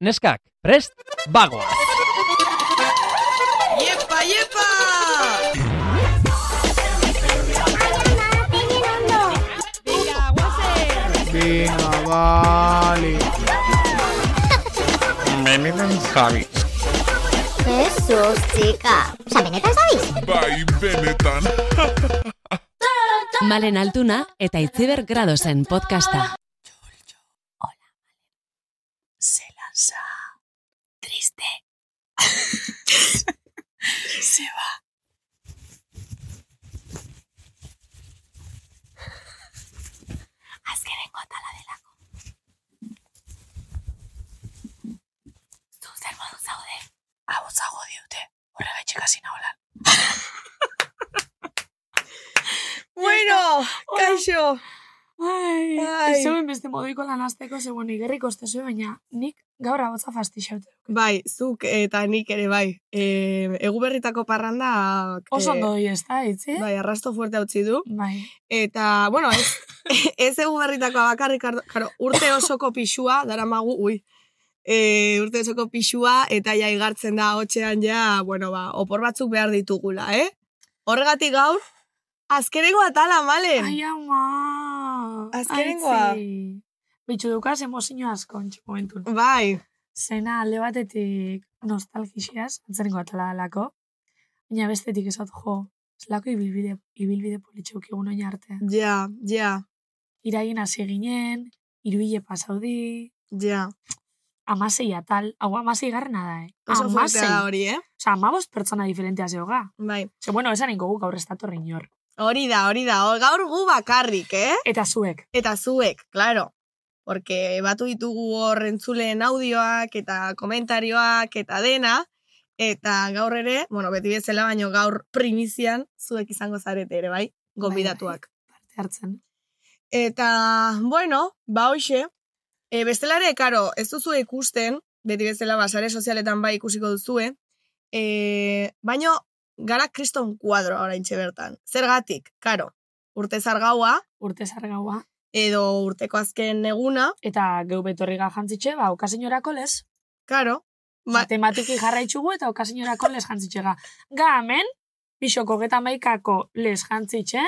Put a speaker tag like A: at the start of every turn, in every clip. A: neskak, prest, bagoa!
B: Iepa, iepa!
C: Venga, vale.
D: Benetan Javi.
E: Jesus, txika. Osa, benetan zabiz?
D: Bai, benetan.
F: Malen Altuna eta Itziber Gradosen podcasta.
B: Se lanza. Triste. Se va. Azkenengo atala delako. Zu zer modu zaude? Hau zago diute. Horregatik hasi naholan.
G: Bueno, kaixo.
B: Ai,
G: Ai.
B: ez zeuen beste moduiko lan azteko zegoen igerrik ostezue, baina nik gaur abotza fastixaute.
G: Bai, zuk eta nik ere bai. E, egu berritako parranda...
B: Oso ondo eh? doi ez da, itzi?
G: eh, Bai, arrasto fuerte utzi du.
B: Bai.
G: Eta, bueno, ez, ez egu berritakoa bakarrik, ardo- karo, urte osoko pixua, daramagu, ui, e, urte osoko pixua, eta ja igartzen da hotxean ja, bueno, ba, opor batzuk behar ditugula, eh? Horregatik gaur, azkenengo atala, malen!
B: Ai, ama!
G: Azkenengoa.
B: Aitzi. Bitxu dukaz emozio asko entxu momentun.
G: Bai,
B: Zena alde batetik nostalgixiaz, atzerengo atala dalako. Baina bestetik esat jo, zelako ibilbide, ibilbide politxeuk egun oin arte.
G: ja, ja,
B: Iraien hasi ginen, iruile pasaudi,
G: ja.
B: amasei atal, hau amasei garrena da, eh?
G: Oso fuertea
B: amasei.
G: da hori, eh?
B: Osa, amabos pertsona diferentea zehoga.
G: Bai.
B: Ze, bueno, esan ingo guk aurre estatorri inor.
G: Hori da, hori da. Hor- Gaur gu bakarrik, eh?
B: Eta zuek,
G: Eta zuek, claro. Porque batu ditugu hor entzuleen audioak eta komentarioak eta dena. Eta gaur ere, bueno, beti bezala baino gaur primizian zuek izango zarete ere, bai? Gonbidatuak.
B: parte hartzen.
G: Eta, bueno, ba hoxe, e, bestelare, karo, ez duzu ikusten, beti bezala basare sozialetan bai ikusiko duzue, e, baino, gara kriston kuadro orain bertan. Zergatik, karo, urte zargaua,
B: Urte zargaua.
G: edo urteko azken eguna,
B: Eta geu betorri jantzitxe, ba, okasinorako lez.
G: karo,
B: Ba.
G: ba,
B: Tematiki jarraitzugu eta okasinorako les jantzitxega. Ga hemen, bisoko geta maikako les jantzitxe,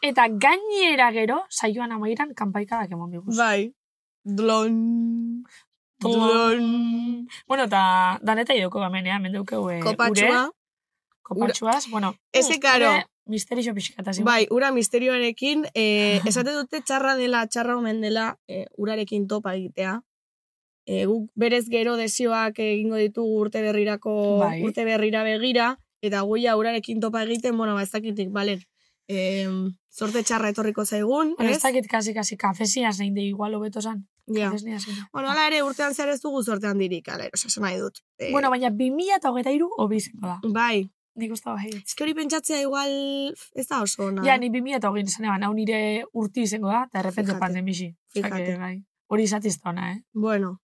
B: eta gainera gero, saioan amairan kanpaikadak emon diguz.
G: bai, dlon,
B: Dlon. Bueno, eta daneta idoko gamenean, mendeukeu e,
G: kopatxoa,
B: kopatxuaz, bueno.
G: Ese, karo.
B: Misterixo pixkataz.
G: bai, ura misterioarekin, e, esate dute txarra dela, txarra omen dela, e, urarekin topa egitea. E, guk berez gero desioak egingo ditugu urte berrirako,
B: Bai.
G: urte berrira begira, eta guia urarekin topa egiten, bueno, ba, ez dakitik, balen, e, sorte txarra etorriko zaigun,
B: Bueno, ez
G: ez?
B: dakit kasi, kasi, kafesia zein de igual hobeto zan.
G: Ja.
B: Kafesnia zein da.
G: Bueno, ala ere, urtean zer ez dugu sorte handirik, ala, esan nahi dut. E,
B: Bueno, baina 2000 eta hogeita iru hobi izango da.
G: bai,
B: Nik usta bai.
G: Ez que hori pentsatzea igual pf, ez da oso ona.
B: Ja, ni 2000 eta hogein esan eban, hau nire urti izango da, eta errepente
G: Fíjate.
B: pandemixi. Osa,
G: Fíjate.
B: que, bai. Hori izatizta ona, eh?
G: Bueno,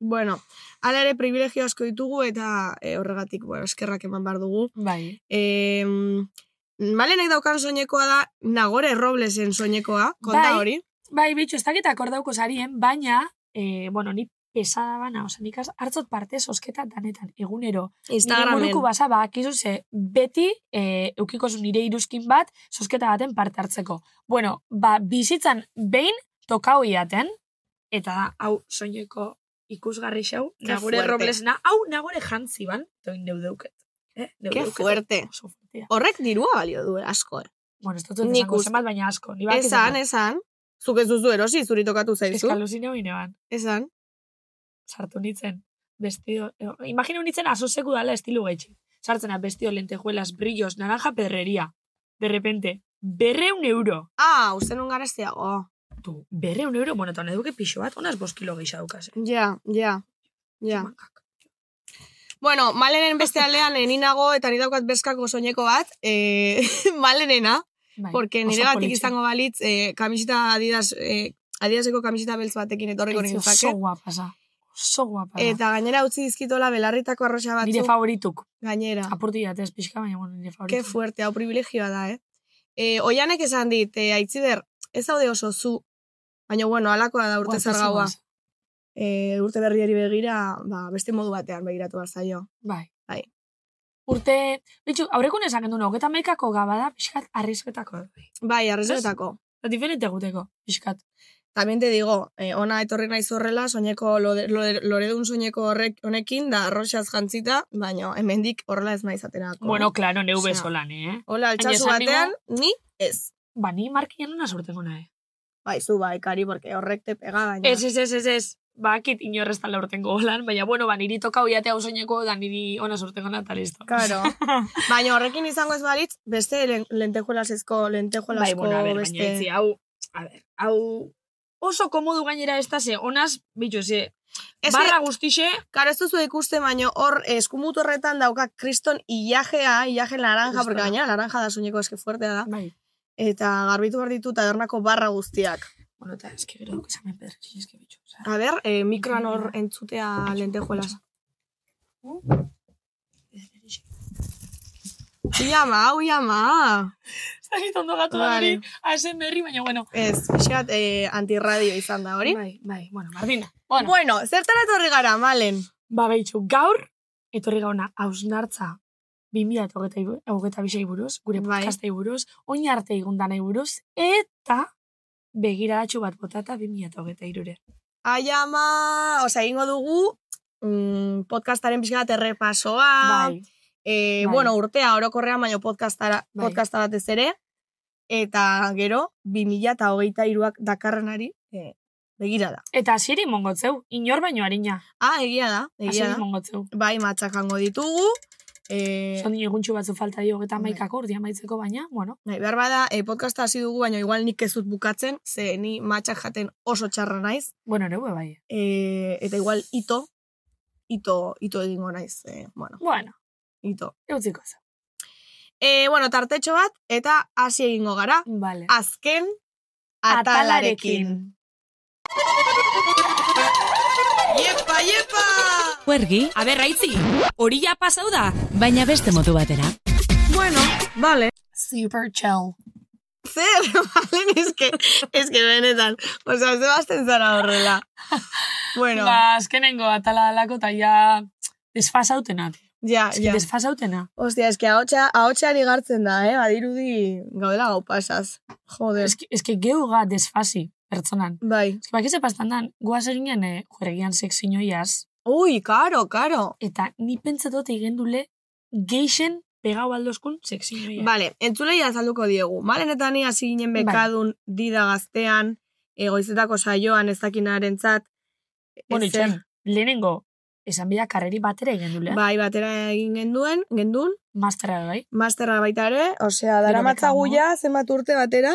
G: bueno. Hala ere privilegio asko ditugu eta eh, horregatik bueno, eskerrak eman behar dugu.
B: Bai.
G: Eh, malenek daukan soinekoa da, nagore roblesen soinekoa, konta
B: Bai.
G: hori.
B: Bai, bitxo, ez dakit akordauko zarien, baina, eh, bueno, ni pesada bana, osa, nik az- hartzot parte sosketa danetan, egunero. Nire
G: Instagramen.
B: buruku basa, bakizu ze, beti eh, eukiko zu nire iruzkin bat, sosketa baten parte hartzeko. Bueno, ba, bizitzan behin tokau iaten, eta hau soineko ikusgarri xau,
G: Ke
B: nagure
G: fuerte.
B: roblesna, hau nagure jantzi ban, toin deudeuket. Eh?
G: Ke
B: Deudeuket.
G: fuerte.
B: Oso fuertea.
G: Horrek dirua balio du, eh, asko. Eh.
B: Bueno, ez dut
G: Nik
B: esango
G: uste-
B: zenbat, baina asko. Ni bakit
G: Esan, esan. Zuk ez duzu erosi, zuri tokatu zaizu.
B: Eskaluzina bineban.
G: Esan.
B: sartu nintzen, vestido, eh, imagina nintzen asoseku dala estilu gaitxi. Sartzena, vestido, lentejuelas, brillos, naranja, perrería. De repente, berreun euro.
G: Ah, uste nun garestiago.
B: Tu, berreun euro, bueno, eta honeduke pixo bat, honaz bost kilo gehiago daukaz. eh.
G: Ja, ja, ja.
B: Mankak.
G: Bueno, malenen beste aldean eh, ni nago eta ni daukat beskako soineko bat, e, malenena,
B: Bai,
G: porque
B: oso
G: nire gatik
B: politxe.
G: izango balitz, e, kamisita adidas, e, adidaseko kamisita beltz batekin etorriko
B: Aitzi,
G: nintzake.
B: Oso guapasa. Oso guapasa.
G: Eta gainera utzi dizkitola belarritako arroxa
B: nire
G: batzuk
B: favorituk.
G: gainera.
B: Apurti jatez pixka, baina bueno, nire favorituk.
G: Ke fuerte, hau privilegioa da, eh? E, oianek esan eh, dit, e, aitzider, ez daude oso zu, baina bueno, alakoa da urte
B: Guapísimoas.
G: zargaua. e, urte berriari begira, ba, beste modu batean begiratu bat zaio.
B: Bai.
G: Bai.
B: Urte, bitxu, aurrekun esaken duen, hogeta maikako gaba da, pixkat, arrizketako.
G: Bai, arrezoetako.
B: Da, diferente guteko, pixkat.
G: También te digo, eh, ona etorri naiz horrela, soineko lode- lode- loredun soineko horrek honekin, da arroxaz jantzita, baina hemendik horrela ez naiz aterako.
B: Bueno, claro, neu
G: Osea.
B: bezolan, eh?
G: Hola, altxasu
B: Baina esan
G: batean, ni ez.
B: Ba, ni markian una sortengo nahi.
G: Bai, zu bai, kari, porque horrek te pega baina.
B: Ez, ez, ez, ez, ez. Bakit inorrez tala urtengo holan, baina, bueno, ba, niri toka hoiatea usoineko, da niri ona sortengo nahi, eta listo.
G: Claro. baina horrekin izango ez balitz, beste len, lentejuelasezko,
B: Bai,
G: lentejuelasko,
B: bueno, a ver,
G: beste...
B: baina, etzi, hau, a ver, hau, oso komodu gainera ez da ze, onaz, bitxu, ze,
G: Ez
B: barra guztixe,
G: Karo, ez duzu ikusten, baino hor eh, eskumutu horretan dauka kriston ilajea, ilaje naranja,
B: Justo.
G: porque gaina naranja da soineko eske fuertea da.
B: bai,
G: Eta garbitu behar ditu tabernako barra guztiak.
B: bueno, eta eski gero, esamen pedrekin, eski bitxu. osea.
G: A ber, eh, mikroan hor entzutea lentejuelas. Ah. Iama, hau iama!
B: Zagit ondo gatu da
G: Vale.
B: hori, azen berri, baina, bueno.
G: Ez, pixat, eh, antirradio izan da hori.
B: Bai, bai, bueno, bardina. Bueno,
G: Bueno, zertara etorri gara, malen.
B: ba, behitxu, gaur, etorri gauna, hausnartza, 2000 hogeta bisei buruz, gure
G: Bai.
B: podcastei buruz, oin arte igundanei buruz, eta begiradatxu bat botata 2000 hogeta irure.
G: Ai ama! Osa, egingo dugu mm, podcastaren pixka bat errepasoa.
B: Bai,
G: Eh,
B: Bai.
G: Bueno, urtea orokorrean, baino podcastara,
B: Bai.
G: podcasta batez ere. Eta gero, 2023ak dakarrenari eh, begira da.
B: Eta asiri mongotzeu, inor baino harina.
G: Ah, egia da, egia
B: Asiri
G: da.
B: mongotzeu.
G: Bai, matxakango ditugu. Eh,
B: Zondi eguntxu batzu falta dio eta
G: Bai.
B: maikako urdia maitzeko baina, bueno,
G: nahi, behar bada, eh, podcasta hasi dugu, baino igual nik ez dut bukatzen, ze ni matxak jaten oso txarra naiz.
B: bueno, neue bai.
G: Eh, eta igual ito, ito, ito egingo naiz. Eh, bueno,
B: Bueno,
G: ito.
B: eutziko zeu.
G: E, bueno, tartetxo bat, eta hasi egingo gara,
B: Vale.
G: azken atalarekin. Iepa, iepa!
F: Huergi,
H: Aber, raitzi, hori ja pasau da.
F: baina beste modu batera.
G: Bueno, vale.
B: Super chill.
G: Zer, vale, eske, eske benetan. Osa, ez basten zara horrela. Bueno,
B: Ba, azkenengo atala dalako eta ja desfasautenak.
G: ja,
B: Eski
G: ja.
B: desfasautena.
G: Ostia, eske ahotsa, ahotsean igartzen da, eh? Badirudi gaudela gau pasaz. Joder.
B: Eski, eski geu ga desfasi, pertsonan.
G: Bai.
B: Eski bakize pastan dan, guaz eginen eh, jueregian sexinoiaz,
G: Ui, karo, karo.
B: eta ni pentsatot egendule geixen pegau aldoskun sexinoia.
G: Vale, entzulei azalduko diegu. Malen eta ni hasi ginen
B: Bai.
G: bekadun dida gaztean, egoizetako saioan ez dakinaren zat.
B: bueno,
G: ezer.
B: itxoin, lehenengo, esan bida karreri batera egendule.
G: Bai, batera egin genduen, gendun,
B: Mastera bai.
G: masterra baita ere, osea,
B: Gero
G: dara matzagu
B: bekamo.
G: ja, zenbat urte batera.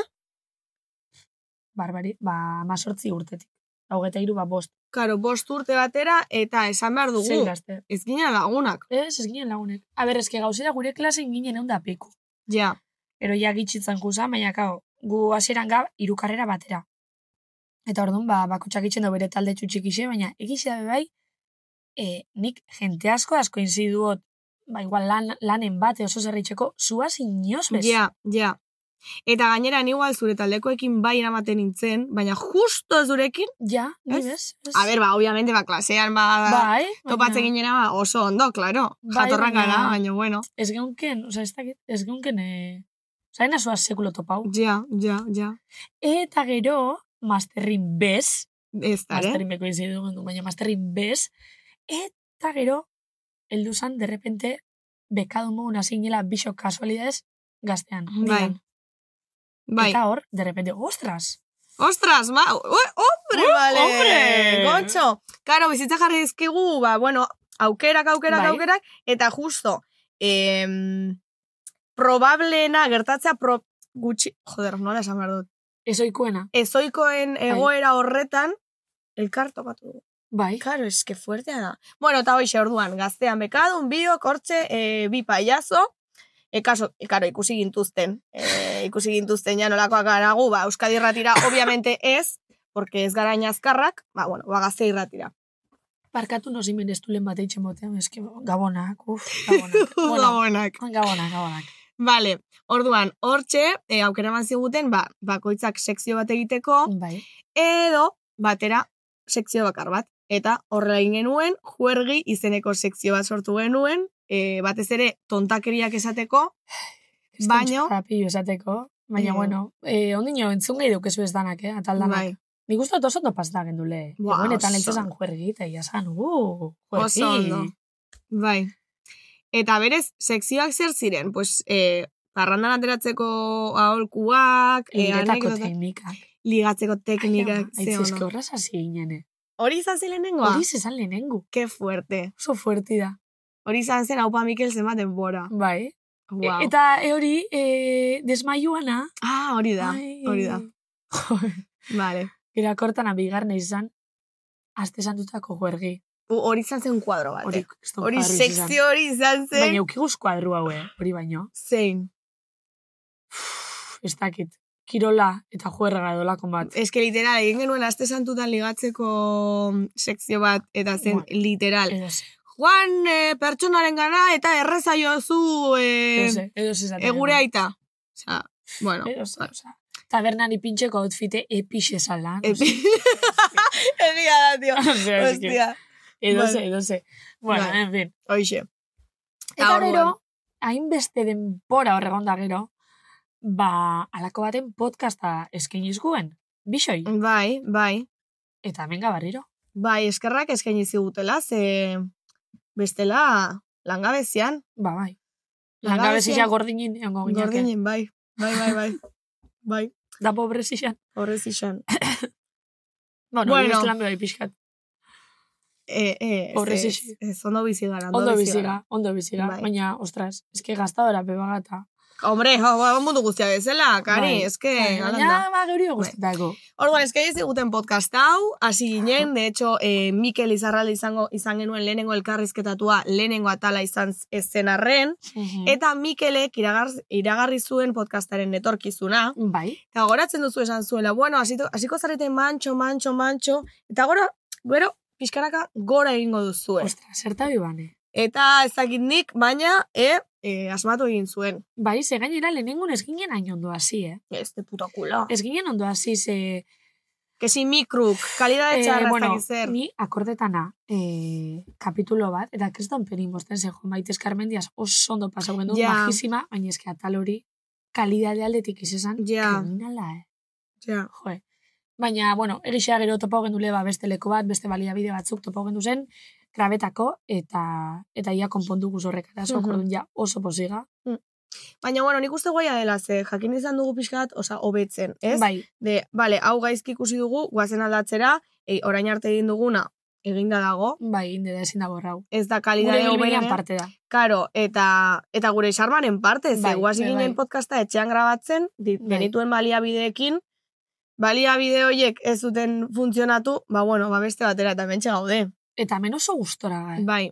B: Barbari, ba, masortzi urtetik. Hogeta iru, ba, bost.
G: Karo, bost urte batera, eta esan behar dugu,
B: Sei gazte.
G: ez ginen lagunak.
B: Ez, ez ginen lagunek. Aber, eske gauzera gure klasen ginen egun da piku.
G: Ja,
B: Pero ja gitxitzen juzan, baina kao, gu hasieran gab, hiru karrera batera. Eta orduan, ba, bakutsak itxen do bere talde txutxik ise, baina egixe da bai, e, nik jente asko asko inziduot, ba, igual lan, lanen bate oso zerritxeko, zua inoz bez.
G: ja, ja. Eta gainera, ni igual zure taldekoekin bai eramaten nintzen, baina justo zurekin,
B: Ja, ni
G: Ez?
B: bez. ez.
G: a ber, ba, obviamente, ba, klasean, ba,
B: bai,
G: topatzen
B: baina
G: ginena, ba, oso ondo, claro.
B: Bai,
G: Jatorrak gara,
B: baina-
G: baina, bueno.
B: Ez geunken, oza, ez dakit, ez geunken, e, oza, ena zua sekulo topau.
G: Ja, ja, ja.
B: Eta gero, masterrin bez,
G: Ez da, eh?
B: masterrin beko izi dugu, baina masterrin bez, eta gero, heldu zan, derrepente, bekadu mogun azinela biso kasualidades gaztean.
G: Bai,
B: Digan.
G: Bai.
B: Eta hor, derrepente, ostras!
G: Ostras, ma, o- hombre, vale.
B: Uh, hombre.
G: Gontxo. Karo, bizitza jarri dizkigu, ba, bueno, aukerak, aukerak,
B: Bai.
G: aukerak, eta justo, em, probableena, gertatzea, pro, gutxi, joder, nola esan behar dut,
B: Ezoikoena,
G: ezoikoen egoera horretan, elkar topatu dugu.
B: bai.
G: Karo, eske fuertea da. Bueno, eta hoxe, orduan, gaztean bekadun, bio, kortxe, e, bi paiazo, e, kaso, e, karo, ikusi gintuzten. E, ikusi gintuzten ja nolakoak gara gu, ba, Euskadi irratira, obviamente ez, porque ez gara inazkarrak, ba, bueno, ba, gazte irratira.
B: Parkatu nos imen estulen bat eitxe motean, eski, gabonak, uf, gabonak. bueno,
G: Gabonak.
B: gabonak, gabonak.
G: Vale, orduan, hortxe, e, aukera eman ziguten, ba, bakoitzak sekzio bat egiteko,
B: Bai.
G: edo, batera, sekzio bakar bat. Eta horrela egin genuen, juergi izeneko sekzio bat sortu genuen, e, batez ere tontakeriak esateko, baino,
B: Rapilu esateko. Baina,
G: Eh.
B: bueno, eh, ondino entzun gai dukezu ez danak, eh, atal danak.
G: bai,
B: Nik uste dut oso ondo pasta gendule.
G: Ba,
B: Ba, Egunetan
G: oso.
B: ez esan juergi, eta ia esan, uh, juergi.
G: oso ondo. Bai. Eta berez, sekzioak zer ziren, pues, e, parrandan ateratzeko aholkuak, e,
B: Iretako
G: anekdota-
B: teknikak.
G: ligatzeko teknikak,
B: Ai,
G: ze
B: ama, aitzi,
G: ono.
B: horraz hasi ginen, eh.
G: Hori izan zen lehenengoa?
B: Hori zezan lehenengu.
G: Ke fuerte.
B: Oso fuerti da.
G: Hori izan zen, haupa Mikel zenbat denbora.
B: Bai. E-
G: Wow.
B: Eta e, hori, e, desmaiuana.
G: ah, hori da,
B: Ai.
G: hori da. Vale.
B: Gero akortan abigarne izan, azte santutako juergi.
G: U- Hori izan zen kuadro bat.
B: Hori,
G: Hori,
B: kriston
G: hori
B: jarri izan.
G: sekzio hori izan zen.
B: Baina eukiguz kuadru hau, eh, hori baino.
G: Zein.
B: Pff, Ez dakit. Kirola eta juerga edolako bat.
G: Ez que literal, egin genuen aste santutan ligatzeko sekzio bat, eta zen
B: Bueno. Eh.
G: literal.
B: Edo ze,
G: Juan e, pertsonaren gana eta erreza jozu
B: edo
G: e,
B: ze, edo ze esaten
G: egure
B: genuen.
G: aita. Osea, bueno.
B: Edo ze, osea. Tabernan ipintxeko outfite epixe zala. no
G: Epi-
B: sé.
G: Egia da, tio.
B: Osea, es que-
G: Hostia.
B: Edo ze,
G: Vale.
B: edo ze. Bueno,
G: Vale.
B: en fin.
G: Hoxe.
B: Eta
G: orduan.
B: gero, hainbeste denbora horregon da gero, ba, alako baten podcasta eskainiz guen. Bixoi.
G: Bai, bai.
B: Eta menga barriro.
G: Bai, eskerrak eskaini zigutela, ze bestela langabezian.
B: Ba, bai.
G: Langabezian-
B: Langabezia gordinin egongo gineke.
G: Gordinen, bai. Bai, bai, bai. bai,
B: Da pobrezia.
G: horrez izan.
B: Bueno,
G: Bueno.
B: bueno. lan bai pixkat.
G: E, e,
B: Horrez
G: ez,
B: izan.
G: ez, ondo bizi gara, ondo,
B: Ondo
G: bizi gara.
B: bizira, ondo bizira.
G: Bai.
B: Baina, ostras, eske gastadora pebagata.
G: Hombre, jo, ba, mundu guztia bezala, kari,
B: Bai.
G: eske, galanda.
B: Baina, ba,
G: Bai.
B: geurio guztetako.
G: Orduan, eskaini ziguten podcast hau, hasi ginen, de hecho, eh, Mikel Izarralde izango izan genuen lehenengo elkarrizketatua lehenengo atala izan z- ez zen arren,
B: Mm.
G: eta Mikelek iragar, iragarri zuen podcastaren etorkizuna,
B: Bai,
G: eta goratzen duzu esan zuela, bueno, hasito- hasiko zarete mantxo, mantxo, mantxo, eta gora, gero, pixkaraka gora egingo duzu.
B: ostras, zerta bibane.
G: Eta ez dakit nik, baina, e, e, asmatu egin zuen.
B: Bai, ze gainera lehenengun ez ginen hain ondo hasi, eh?
G: Ez de puta kula.
B: Ez ginen ondo hasi, ze...
G: Que si mikruk, kalidade
B: Eh,
G: txarra
B: bueno,
G: ez dakit zer.
B: ni akordetana eh, kapitulo bat, eta kriston perin bosten zen joan baitez Carmendiaz oso ondo pasau gendu,
G: Ja.
B: majísima, baina eske atal hori kalidade aldetik izan
G: Ja.
B: kriminala, eh?
G: Ja.
B: Joe. Baina, bueno, egixea gero topau gendule ba, beste leku bat, beste baliabide batzuk topau gendu zen, grabetako, eta eta ia konpondu guz horrek arazo,
G: Mhm.
B: orduan ja oso posiga.
G: Baina, bueno, nik uste guaia dela, ze jakin izan dugu pixkat, oza, hobetzen, ez?
B: Bai,
G: De, bale, hau gaizki ikusi dugu, guazen aldatzera, e, orain arte egin duguna, eginda dago,
B: bai, indera ezin da borrau.
G: ez da
B: Gure
G: kalidade
B: bilbilean
G: hoberean,
B: parte da.
G: karo, eta, eta gure xarmaren parte, ze
B: Bai,
G: guaz
B: bai,
G: ginen
B: bai.
G: podcasta etxean grabatzen, dit,
B: Bai.
G: genituen baliabideekin, baliabide horiek ez zuten funtzionatu, ba, bueno, ba, beste batera eta mentxe gaude.
B: Eta hemen oso gustora eh. gara.
G: Bai,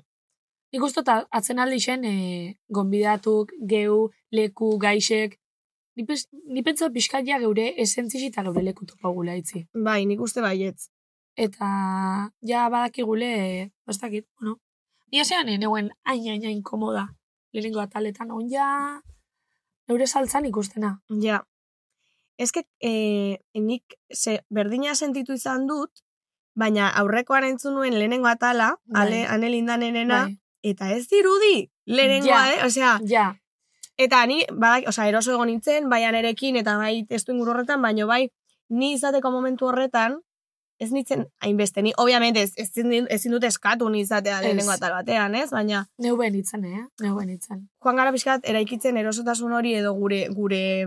B: Nik uste dut atzen aldi zen, e, gonbidatuk, geu, leku, gaixek, Ni pes- ni pentsa pixkat ja geure esentziz eta geure leku topagula itzi.
G: bai, nik uste baietz.
B: Eta ja badakigule, e, ez dakit, bueno. Ni asean neuen hain hain hain komoda. Lehenengo ataletan, on ja, neure saltzan ikustena.
G: Ja. Ez que eh, nik se, berdina sentitu izan dut, baina aurrekoan entzun nuen lehenengo atala,
B: Bai.
G: ale, ane lindanenena,
B: Bai,
G: eta ez dirudi lehenengoa,
B: Ja.
G: eh? Osea,
B: ja,
G: eta ni, badak, osea, eroso egon nintzen, bai anerekin, eta bai testu inguru horretan, baino bai, ni izateko momentu horretan, ez nintzen hainbeste, ni, obviamente, ez, ezin, din- ezin dut eskatu ni izatea lehenengo
B: Ez.
G: atal batean, ez? Baina,
B: neu ben itzen, eh? Neu ben itzen.
G: joan gara pixkat eraikitzen erosotasun hori edo gure gure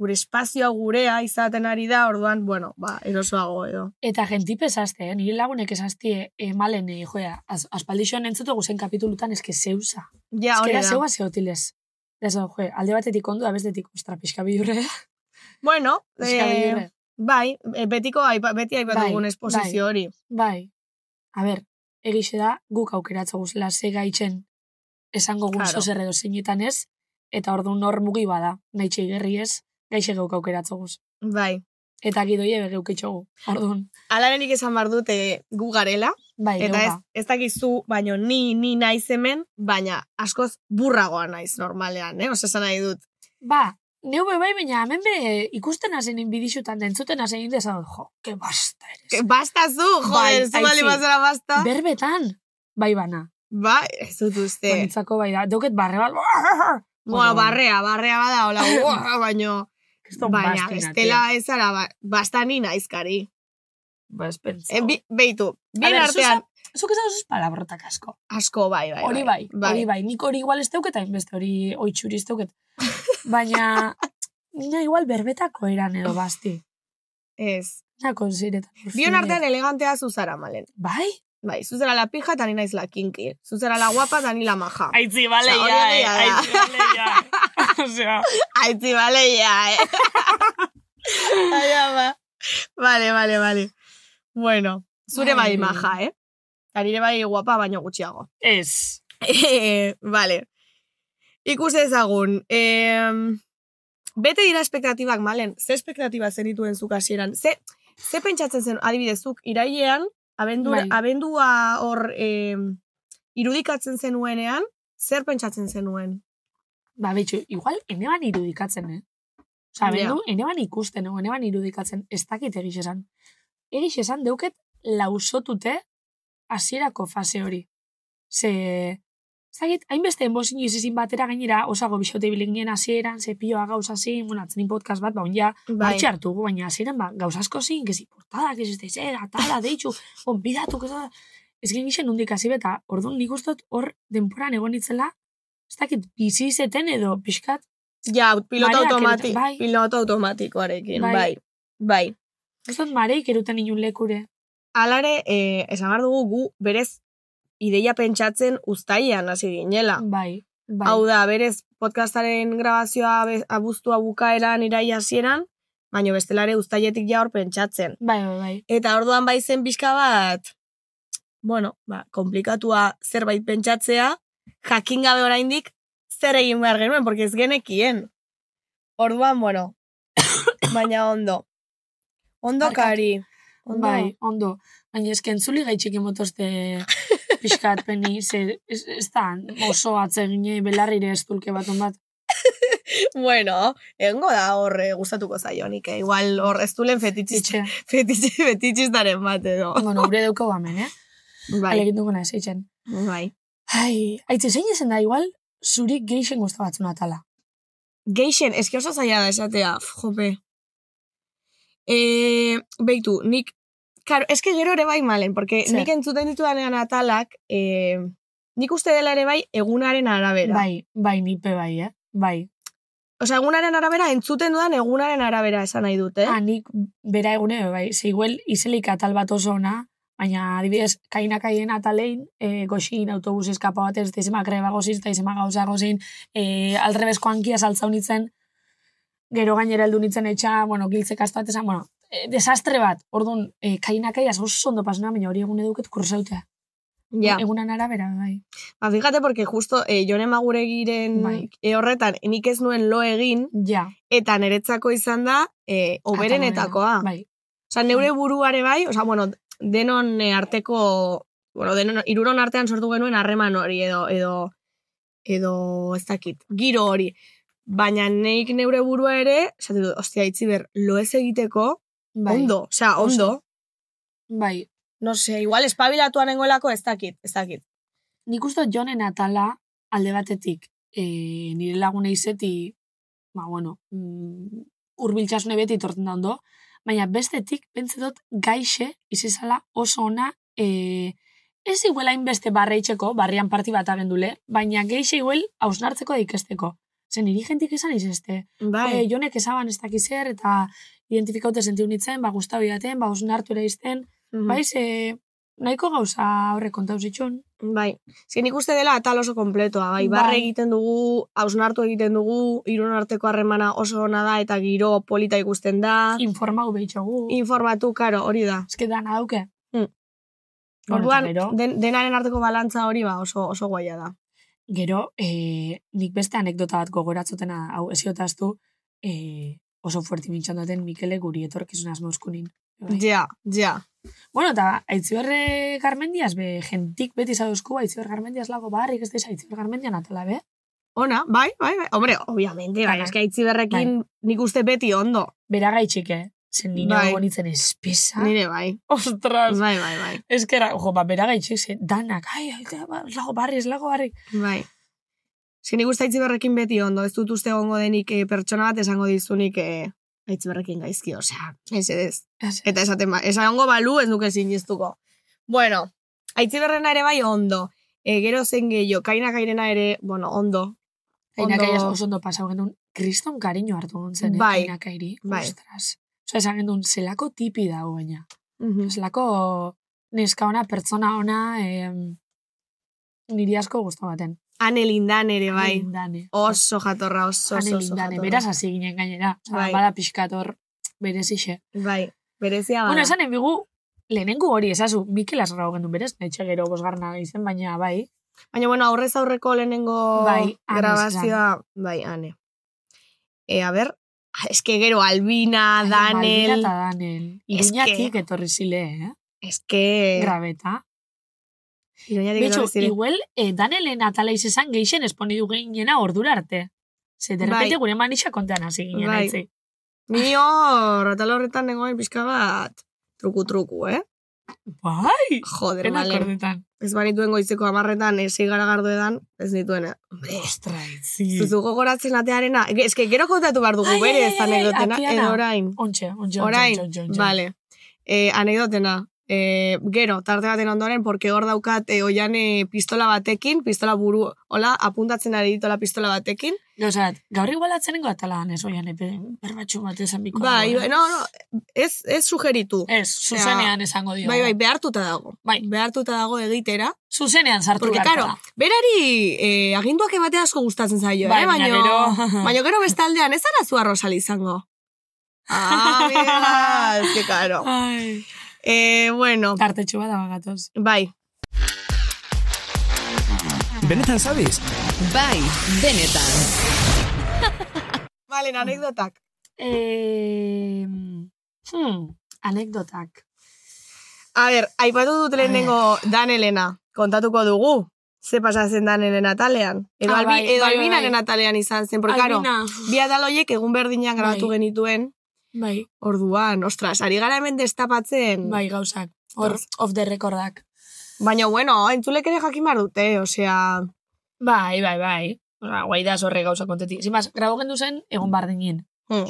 G: gure espazioa gurea izaten ari da, orduan, bueno, ba, erosoago edo.
B: Eta gentipe esazte, eh? nire lagunek esaztie emalen, eh, joea, az, aspaldixoan entzutugu zen kapitulutan eske zeusa.
G: Ja, hori
B: Euskera
G: da.
B: zeua zeotilez. Ez da, joe, alde batetik ondo, abestetik, ostra, pixka
G: Bai,
B: bihurre.
G: Bueno,
B: Pixka
G: eh,
B: bihurre.
G: bai, eh, betiko aipa, beti aipatu
B: Bai,
G: dugun esposizio hori.
B: Bai. A ber, egixe da, guk aukeratza guzela, ze gaitzen esango gun
G: Claro.
B: claro. zozer edo zeinetan ez, eta ordu nor mugi bada, nahi txeigerri ez, gaixe geuk aukeratza guz.
G: Bai.
B: Eta gidoie begeuk itxogu, orduan.
G: Alarenik esan bar dute gu garela,
B: Bai,
G: eta ez,
B: geuka.
G: ez dakizu, baino ni, ni naiz hemen, baina askoz burragoa naiz normalean, eh? Osa esan nahi dut.
B: Ba, Neu be bai, baina hemen be ikusten hasi nin bidixutan dentzuten hasi nin desan, jo, que basta eres.
G: Ke Basta zu,
B: Bai,
G: joder, zu
B: ai,
G: bali
B: sí.
G: bazara basta.
B: Berbetan, bai bana.
G: Bai, ez dut uste.
B: Banitzako bai da, dauket barre bat.
G: Bueno, barrea, barrea bada, hola, uah, baino.
B: Kriston
G: Baina,
B: bastina,
G: estela ez ara, ba, bastani naizkari.
B: Ba, ez pentsa.
G: Eh, bi- Beitu, bien
B: ber,
G: artean,
B: Zuk ez dauzuz palabrotak asko.
G: asko bai, bai.
B: Hori bai, hori bai. Nik hori igual ez dauket, hainbeste hori oitxuri ez dauket. Baina, nina igual berbetako eran edo basti.
G: Ez.
B: Na konsiretan.
G: Bion artean elegantea zuzara, malen.
B: Bai?
G: Bai, zuzara la pija, eta ni naiz la kinki. Zuzara la guapa, eta ni la maja.
B: Aitzi,
G: bale, ja, eh, aitzi,
B: bale, ja. Osea,
G: Aitzi, bale, ja, eh. Ai, ama. Vale, vale, vale. Bueno, zure
B: Bai.
G: bai maja, eh? Eta nire bai guapa, baino gutxiago.
B: ez.
G: Eh, vale. Ikus ezagun. Eh, bete dira espektatibak, malen. Ze espektatiba zenituen zuk hasieran? Ze, ze pentsatzen zen, adibidez, zuk irailean, abendura,
B: Bai.
G: abendua hor eh, irudikatzen zenuenean, zer pentsatzen zenuen?
B: Ba, betxu, igual, ene ban irudikatzen, eh? Osa,
G: Ja.
B: bendu, ene ban ikusten, ene ban irudikatzen, ez dakit egiz esan. Egiz esan deuket lausotute hasierako fase hori. Ze, ez dakit, hainbeste enbozin izizin batera gainera, osago bisote bilingien hasieran, ze pioa gauza zin, bueno, atzenin podcast bat, ba, ja, bai. martxe hartu gu, baina hasieran, ba, gauz asko zin, gezi portada, gezi ez da, tala, deitxu, onbidatu, gezi ez gen gixen hundik hasi beta, orduan nik ustot hor denporan egon itzela, ez dakit, bizi izeten edo pixkat,
G: Ja, piloto,
B: Mareak
G: automati,
B: egiten, bai.
G: piloto automatikoarekin,
B: Bai.
G: bai. Bai.
B: ustot mareik eruten inun lekure.
G: Alare, eh, esan behar dugu gu berez ideia pentsatzen uztaian hasi ginela.
B: Bai, bai.
G: Hau da, berez, podcastaren grabazioa be- abuztua bukaeran irai hasieran, baino bestelare uztailetik ja hor pentsatzen.
B: Bai, bai, bai.
G: Eta orduan bai zen pixka bat, bueno, ba, komplikatua zerbait pentsatzea, jakin gabe oraindik zer egin behar genuen, porque ez genekien. Orduan, bueno, baina ondo. Ondo
B: Barkatu.
G: kari. Ondo.
B: Bai, ondo. Baina eske entzuli gaitxik emotozte pixkat peni, ze ez, ez da oso eh, atzegine belarrire estulke bat on bat.
G: Bueno, egongo da hor eh, gustatuko zaionik, eh? igual hor ez du lehen fetitxista,
B: Itxe,
G: fetitxistaren bat edo.
B: bueno, gure deuko bamen, eh? Bai.
G: Bai,
B: Alegin duguna ez, eitzen.
G: bai.
B: Ai, aitze, zein ezen da, igual, zuri geixen gustatzen atala.
G: Geixen, eski oso zaila da esatea, f, jope. E, beitu, nik, karo, eski gero ere bai malen, porque
B: Zer?
G: nik entzuten ditudanean atalak, e, nik uste dela ere bai egunaren arabera.
B: Bai, bai, nipe bai, eh? Bai.
G: Osa, egunaren arabera, entzuten dudan egunaren arabera esan nahi eh? dute.
B: Ah, nik bera egune, bai, ze igual izelik atal bat oso ona, baina adibidez, kainakaien atalein, e, goxin autobus eskapa bat ez, teizema kreba gozin, teizema gauza gozin, e, alrebezko hankia saltza honitzen, gero gainera heldu nintzen etxa, bueno, giltzek astu bat esan, bueno, e, desastre bat, orduan, e, kainakaia oso ondo pasena, baina hori egun eduket kursautea.
G: ja.
B: Egunan arabera, bai.
G: Ba, fíjate, porque justo eh, jone maguregiren
B: Bai.
G: eh, horretan, nik ez nuen lo egin,
B: Ja.
G: eta niretzako izan da, eh, oberenetakoa.
B: atal honena. Bai,
G: Osa, neure buruare bai, osa, bueno, denon eh, arteko, bueno, denon, iruron artean sortu genuen harreman hori edo, edo, edo, ez dakit, giro hori. Baina neik neure burua ere, esate dut, ostia, itzi ber, lo ez egiteko,
B: bai.
G: ondo, osea, ondo.
B: Bai,
G: No se, igual espabilatuan nengoelako ez dakit, ez dakit.
B: nik uste dut jonen atala alde batetik e, nire laguna izeti, ba, bueno, mm, urbiltasune beti torten da ondo, baina bestetik, pentsa dut, gaixe izizala oso ona e, ez iguela inbeste barreitzeko, barrian parti bat agendule, baina geixe iguel hausnartzeko da ikesteko. Zen, niri jentik esan izeste.
G: Bai,
B: E, jonek esaban ez dakizer, eta identifikaute sentiu nintzen, ba, guztabi daten, ba, hausnartu ere izten,
G: Mhm.
B: bai, ze, nahiko gauza horre kontauz itxun.
G: Bai, ezken ikuste dela atal oso kompletoa, bai,
B: Bai.
G: barre egiten dugu, hausnartu egiten dugu, irun arteko harremana oso ona da eta giro polita ikusten da,
B: informau behitxogu.
G: informatu, karo, hori da.
B: Ez que dana dauke.
G: Mm.
B: Bueno,
G: Orduan,
B: eta gero,
G: den, denaren arteko balantza hori ba oso, oso guaia da.
B: gero eh, nik beste anekdota bat gogoratzutena, hau esiotaztu, eh, oso fuerti mintxan duten Mikele guri etorkizun asmauzkunin.
G: Ja, ja.
B: Bueno, eta aitziberre garmendiaz, be, gentik beti zauzku, aitziber garmendiaz lago barrik, ez deiz aitziber garmendian atala, be?
G: Ona, bai, bai, bai. Hombre, obviamente, bai,
B: Bai.
G: eske aitzi berrekin nik uste beti ondo.
B: Beragaitxik, eh? Zen nina
G: Bai.
B: bai. nintzen espesa.
G: Nire bai.
B: Ostras.
G: Bai, bai, bai.
B: Ezkera, ojo, ba, beragaitxik zen, danak, ai, ai, da, ba, ez lago barri, ez lago barri.
G: Bai. Eske nik uste aitzi berrekin beti ondo. Ez dut uste gongo denik eh, pertsona bat esango dizunik eh, aitzi berrekin gaizki, osea, mesedez.
B: Ez-
G: Eta esaten ba, esango balu ez nuke sinistuko. Bueno, aitzi berrena ere bai ondo. E, gero zen gehiago, kainak airena ere, bueno, ondo.
B: Ainak
G: Ondo-
B: aia oso ondo pasau genuen, kriston kariño hartu nintzen, eh?
G: Bai.
B: Ainak airi,
G: Bai.
B: ostras. Osa, esan genuen, zelako tipi dago baina.
G: Mhm.
B: Zelako neska ona, pertsona ona, em, niri asko guztu baten.
G: Ane lindan ere bai.
B: Anelindane.
G: Oso jatorra, oso, oso, oso
B: Anelindane,
G: jatorra.
B: beraz hasi ginen gainera. Osa,
G: Bai.
B: Bada pixkator, berezixe.
G: Bai, berezia bada.
B: Bueno, esan enbigu, lehenengo hori esazu, Mikel Azarrago gendun berez, nahi gero bosgarna izen, baina bai,
G: Baina, bueno, aurrez aurreko lehenengo
B: Bai, Ane
G: grabazioa. Bai, ane. E, a ber, ah, eske gero Albina,
B: Malvina
G: Danel,
B: eta Danel.
G: Eske-
B: Iruñatik etorri zile, eh?
G: eske...
B: Grabeta.
G: Iruñatik
B: Betxo,
G: etorri ziren.
B: igual, eh, Danelen atalaiz esan geixen esponidu gehiena ordura arte. Ze, de
G: Bai.
B: repente gure manixa kontean hasi ginen,
G: Bai.
B: bai.
G: Ni hor, atal horretan nengoen bai, pixka bat truku-truku, eh?
B: Bai,
G: Joder,
B: denak
G: malen.
B: orduetan.
G: Ez banituen goizeko amarretan, esei gara gardoedan, ez nituen, eh? Hombre,
B: Ostra, itzi.
G: zuzu gogoratzen atearena. Ge- eske gero kontatu behar dugu,
B: Mm. Ai,
G: bere,
B: ai,
G: ez
B: ai, ai,
G: anekdotena,
B: ateana.
G: edo orain.
B: Ontxe, ontxe,
G: Orain,
B: ontxe, ontxe, ontxe.
G: Vale. Eh, anekdotena. Eh, gero, tarte baten ondoren, porque hor daukat eh, oian eh, pistola batekin, pistola buru, hola, apuntatzen ari ditola pistola batekin.
B: Gauzat, gaur igualatzen nengo atalagan ez, oian, epe, berbatxu bat esan biko.
G: Bai, no, no, ez, ez sugeritu.
B: Ez, zuzenean esango dio.
G: Bai, bai, behartuta dago.
B: Bai.
G: Behartuta dago egitera.
B: Zuzenean sartu
G: Porque,
B: beharko
G: karo,
B: da.
G: berari eh, aginduak emate asko gustatzen zaio,
B: Bai,
G: eh?
B: baina
G: Baino,
B: gero-
G: baino gero bestaldean, ez ara zua Rosal izango. Ah, mira, ez que, karo.
B: Ai.
G: Eh, bueno,
B: Tarte txuba da bagatoz.
G: bai,
A: Benetan zabiz?
F: Bai, denetan.
G: Balen, anekdotak.
B: Eh, hmm, anekdotak.
G: A ber, aipatu dut lehenengo Dan Elena. Kontatuko dugu. Ze pasatzen Dan Elena talean. Edo,
B: Ah,
G: albi,
B: bai,
G: edo
B: bai,
G: Albinaren
B: bai.
G: atalean izan zen. Porque, karo,
B: Albina,
G: bi atal horiek egun berdinak grabatu
B: Bai.
G: genituen.
B: Bai,
G: Orduan, ostras, ari gara hemen destapatzen.
B: bai gauzak. Hor, off the recordak.
G: Baina, bueno, entzulek ere jakin behar dute, osea...
B: Bai, bai, bai. Osa, guai da zorre gauza kontetik. Zimaz, grabo gendu zen, egon bardinen.
G: Hmm.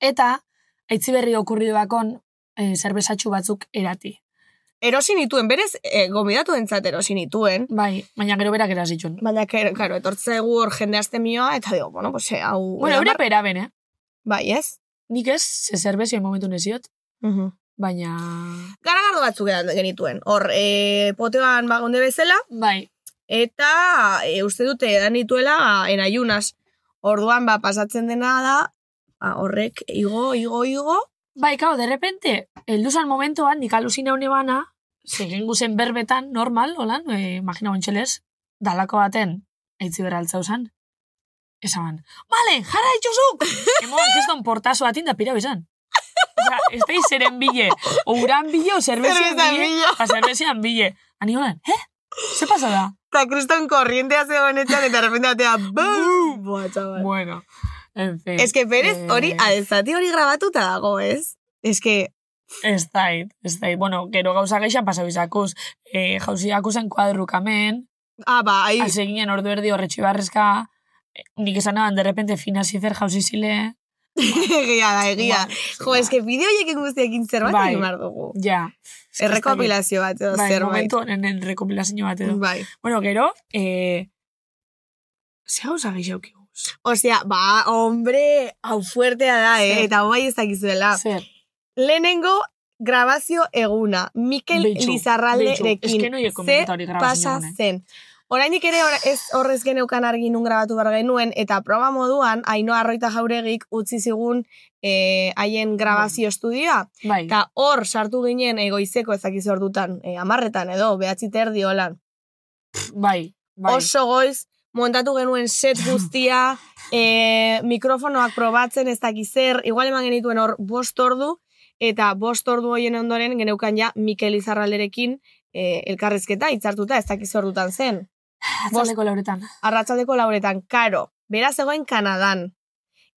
B: Eta, aitzi berri okurri bakon, eh, zerbezatxu batzuk erati.
G: Erosi nituen, berez, eh, gomidatu entzat erosi nituen.
B: Bai, baina gero berak erazitxun.
G: Baina, ke- claro, etortzegu hor jende azte mioa, eta digo, bueno, pues, eh, hau...
B: Bueno, eure pera ben, eh?
G: Bai, ez?
B: Nik ez, ze zerbezio momentu neziot, baina...
G: Garagardo batzuk edan genituen. Hor, eh, poteoan bagonde bezala,
B: Bai,
G: eta e, uste dute edan dituela en ayunas. Orduan, ba, pasatzen dena da, ba, horrek igo, igo, igo.
B: Bai, kao, de repente, heldu zan momentoan, nik alusina hone bana, segin guzen berbetan, normal, holan, e, imagina ontxelez, dalako baten, eitzi bera altzau zan. Esaban, bale, jarra itxuzuk! Emoan, keston portazo atin da pira bezan. Osa, ez da izeren bile, ouran bile, o zerbezian
G: Zerbezan
B: bile,
G: bile.
B: o zerbezian bile. Ani holan, eh? Ze pasa da?
G: Eta kriston korrientea zegoenetan, eta repente atea, bum! Boa, txabal.
B: Bueno, en fin.
G: Ez que berez, hori,
B: eh,
G: alzati hori grabatuta dago, ez? Ez que,
B: Ez dait, ez dait. Bueno, gero gauza geixan pasau izakuz. E, jauziakuzen kuadrukamen,
G: ah, ba, ahi,
B: Hase ginen ordu erdi horretxi barrezka, eh, nik esan nahan, de repente fina zifer jauzi zile.
G: egia da, egia.
B: Buah,
G: Jo, ez que bideo horiek guztiekin zerbait
B: Bai.
G: egin behar dugu.
B: Ja. Ez que ez
G: Errekopilazio bat, edo
B: dakit. Bai,
G: zerbait.
B: momentu honen rekopilazio bat edo.
G: Bai.
B: Bueno, gero, eh, ze gauza gehiago kiguz?
G: Osea, ba, hombre, hau fuertea da, eh?
B: Zer.
G: Eta hau bai ez dakizuela.
B: Ah, Zer,
G: Lehenengo grabazio eguna, Mikel
B: Beitxu, beitxu. Ez que
G: Lizarralderekin.
B: no hieko
G: Ze
B: momentu hori grabazio
G: pasa
B: honen.
G: zen. Oraindik ere ora, ez horrez geneukan argi nun grabatu behar genuen, eta proba moduan, Aino Arroita Jauregik utzi zigun eh, haien grabazio estudioa.
B: Bai,
G: Eta hor sartu ginen egoizeko ezakiz ordutan, eh, amarretan edo, behatzi terdi holan.
B: bai, bai.
G: Oso goiz, montatu genuen set guztia, e, mikrofonoak probatzen ez dakiz zer, igual eman genituen hor bost ordu, eta bost ordu hoien ondoren eh, geneukan ja Mikel Izarralderekin e, elkarrezketa hitzartuta ez dakiz ordutan zen.
B: Atzaldeko lauretan.
G: arratsaldeko lauretan, karo, bera zegoen Kanadan.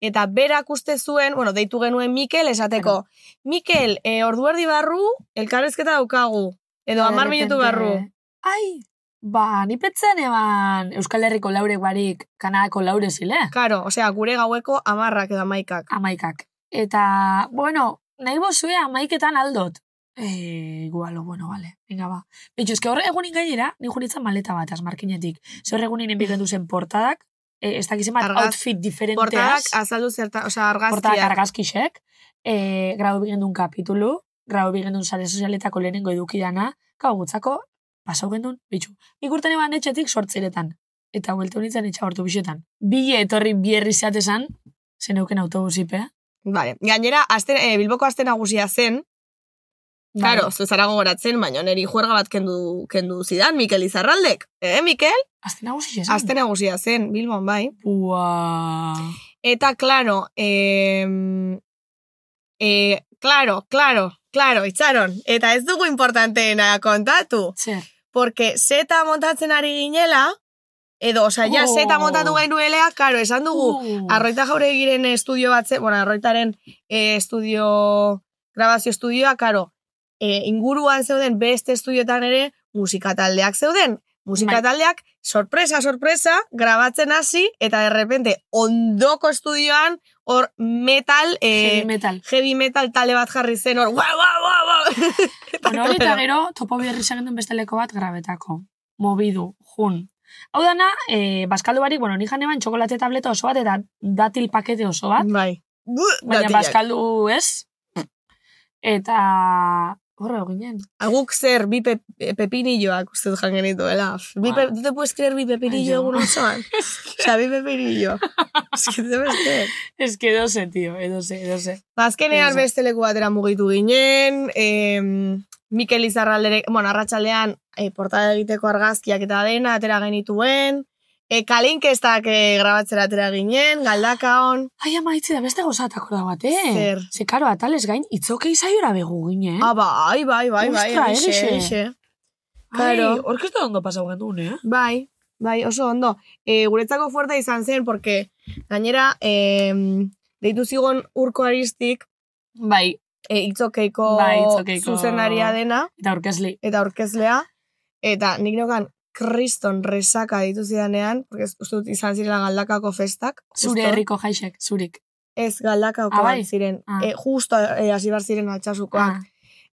G: Eta berak uste zuen, bueno, deitu genuen Mikel esateko. Mikel, e, ordu erdi barru, elkarrezketa daukagu. Edo
B: Eta
G: amar
B: de
G: minutu
B: repente,
G: barru.
B: Ai, ba, ni petzen eban Euskal Herriko laurek barik Kanadako laure zile,
G: Karo, osea, gure gaueko amarrak edo amaikak.
B: amaikak. Eta, bueno, nahi bozue amaiketan aldot. E, gualo, bueno, vale, venga ba. Betxo, eske horre egunin gainera, ni junitzen maleta bat, asmarkinetik. Zer egunin enbiken duzen portadak, e, ez dakizen bat
G: Mm. Argaz-
B: outfit diferenteaz.
G: Portadak azaldu zerta, osea,
B: portadak
G: argazkiak.
B: argazkisek, e, grau bigendun kapitulu, grau bigendun sare sozialetako lehenengo edukidana, gau gutzako, pasau gendun, bitxu. Ikurten eban etxetik sortziretan, eta hueltu nintzen etxa hortu bixetan. Bile etorri bierri zeatesan, zeneuken autobusipe.
G: Vale. Gainera, aste, eh, Bilboko aste nagusia zen,
B: Bai.
G: karo, zu zara gogoratzen, baina neri juerga bat kendu, kendu zidan, Mikel Izarraldek. Eh, Mikel?
B: Azte nagusi esan.
G: Aste nagusia zen, Bilbon bai.
B: Ua.
G: Eta, claro, eh, eh, claro, claro, claro, itxaron. Eta ez dugu importanteena kontatu.
B: Zer.
G: Porque zeta montatzen ari ginela, edo, osea, ja,
B: Oh.
G: zeta montatu gainuelea, claro, esan dugu,
B: Uh.
G: arroita jauregiren estudio bat, ze- bueno, arroitaren eh, estudio, grabazio estudioa, claro, eh, inguruan zeuden beste estudioetan ere musikataldeak zeuden.
B: Bai.
G: Musikataldeak, sorpresa, sorpresa, grabatzen hasi, eta de repente ondoko estudioan, hor metal, eh,
B: Heavy metal.
G: heavy metal talde bat jarri zen, hor, wow, wow, wow, wow.
B: Bueno, hori eta gero, topo bierri zagendun beste leko bat grabetako. Mobidu, jun. Hau dana, eh, baskaldu barik, bueno, ni jan eban txokolate tableta oso bat eta datil pakete oso bat,
G: Bai.
B: baina
G: Datilak.
B: baskaldu ez.
G: Mm.
B: Eta horre ginen.
G: Ah, Guk zer, bi pe, pepinilloak uste dut jan genituela. Bi pe, ¿Tú te puedes creer bi
B: Bai. Ai,
G: pepinillo
B: jo.
G: egun osoan? Osa, bi pepinillo. Ez que te beste.
B: Ez que doze, tio, edoze, edoze.
G: Ba, azkenean
B: Ez.
G: beste leku batera mugitu ginen, em, Mikel Izarralderek, bueno, arratsaldean eh, portada egiteko argazkiak eta dena atera genituen, e, kalinkestak eh, grabatzera atera ginen, galdakaon,
B: Ai, ama, itzi da beste gozatak da bat, eh?
G: Zer?
B: Ze, karo, atales gain, itzokei zaiora begu ginen.
G: ah, bai, bai, bai, bai,
B: Eh? Ostra,
G: egixe,
B: egixe.
G: egixe.
B: Ai,
G: claro.
B: orkestu ondo pasau gendun, eh?
G: Bai, bai, oso ondo. E, guretzako fuerte izan zen, porque gainera, e, deitu zigon urko aristik,
B: Bai.
G: e, itzokeiko,
B: Bai, itzokeiko-
G: zuzenaria dena,
B: Eta orkesli.
G: eta aurkezlea, eta nik neukan kriston resaka ditu zidanean, porque ez- uste dut izan zirela galdakako festak.
B: Zure
G: justo.
B: herriko jaixek, zurik.
G: Ez galdakako
B: Ah, bai?
G: bat ziren.
B: Ah.
G: E, justo e, hasi behar ziren altxasukoak.
B: Ah,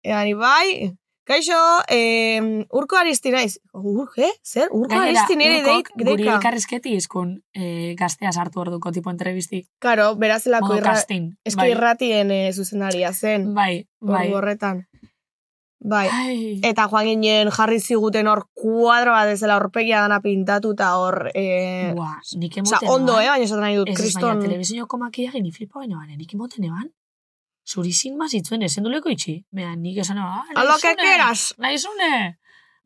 G: Eta ni bai, kaixo, e, urko aristi naiz. Urko, eh? Zer? Urko
B: Gainera,
G: aristi nire
B: urkok
G: deit,
B: guri
G: deika.
B: elkarrizketi izkun eh, gaztea sartu orduko tipo entrevisti.
G: Karo, berazlako
B: Modo
G: irra,
B: casting.
G: eski
B: bai.
G: irratien e, zuzenaria zen.
B: Bai, bai.
G: Ordu horretan. Bai.
B: Ai,
G: Eta joan ginen jarri ziguten hor kuadro bat ezela horpegia dana pintatuta hor... E,
B: Buah, nik
G: Osa,
B: emoten
G: ondo, eh, baina esaten nahi dut,
B: Ez, ez,
G: kriston...
B: baina telebizio komakia gini flipa baina baina, nik emoten eban. Zuri zin mazitzuen, esen duleko itxi. Mea, nik esan eba, ah,
G: A lo que
B: naizune,
G: quieras.
B: Naizune!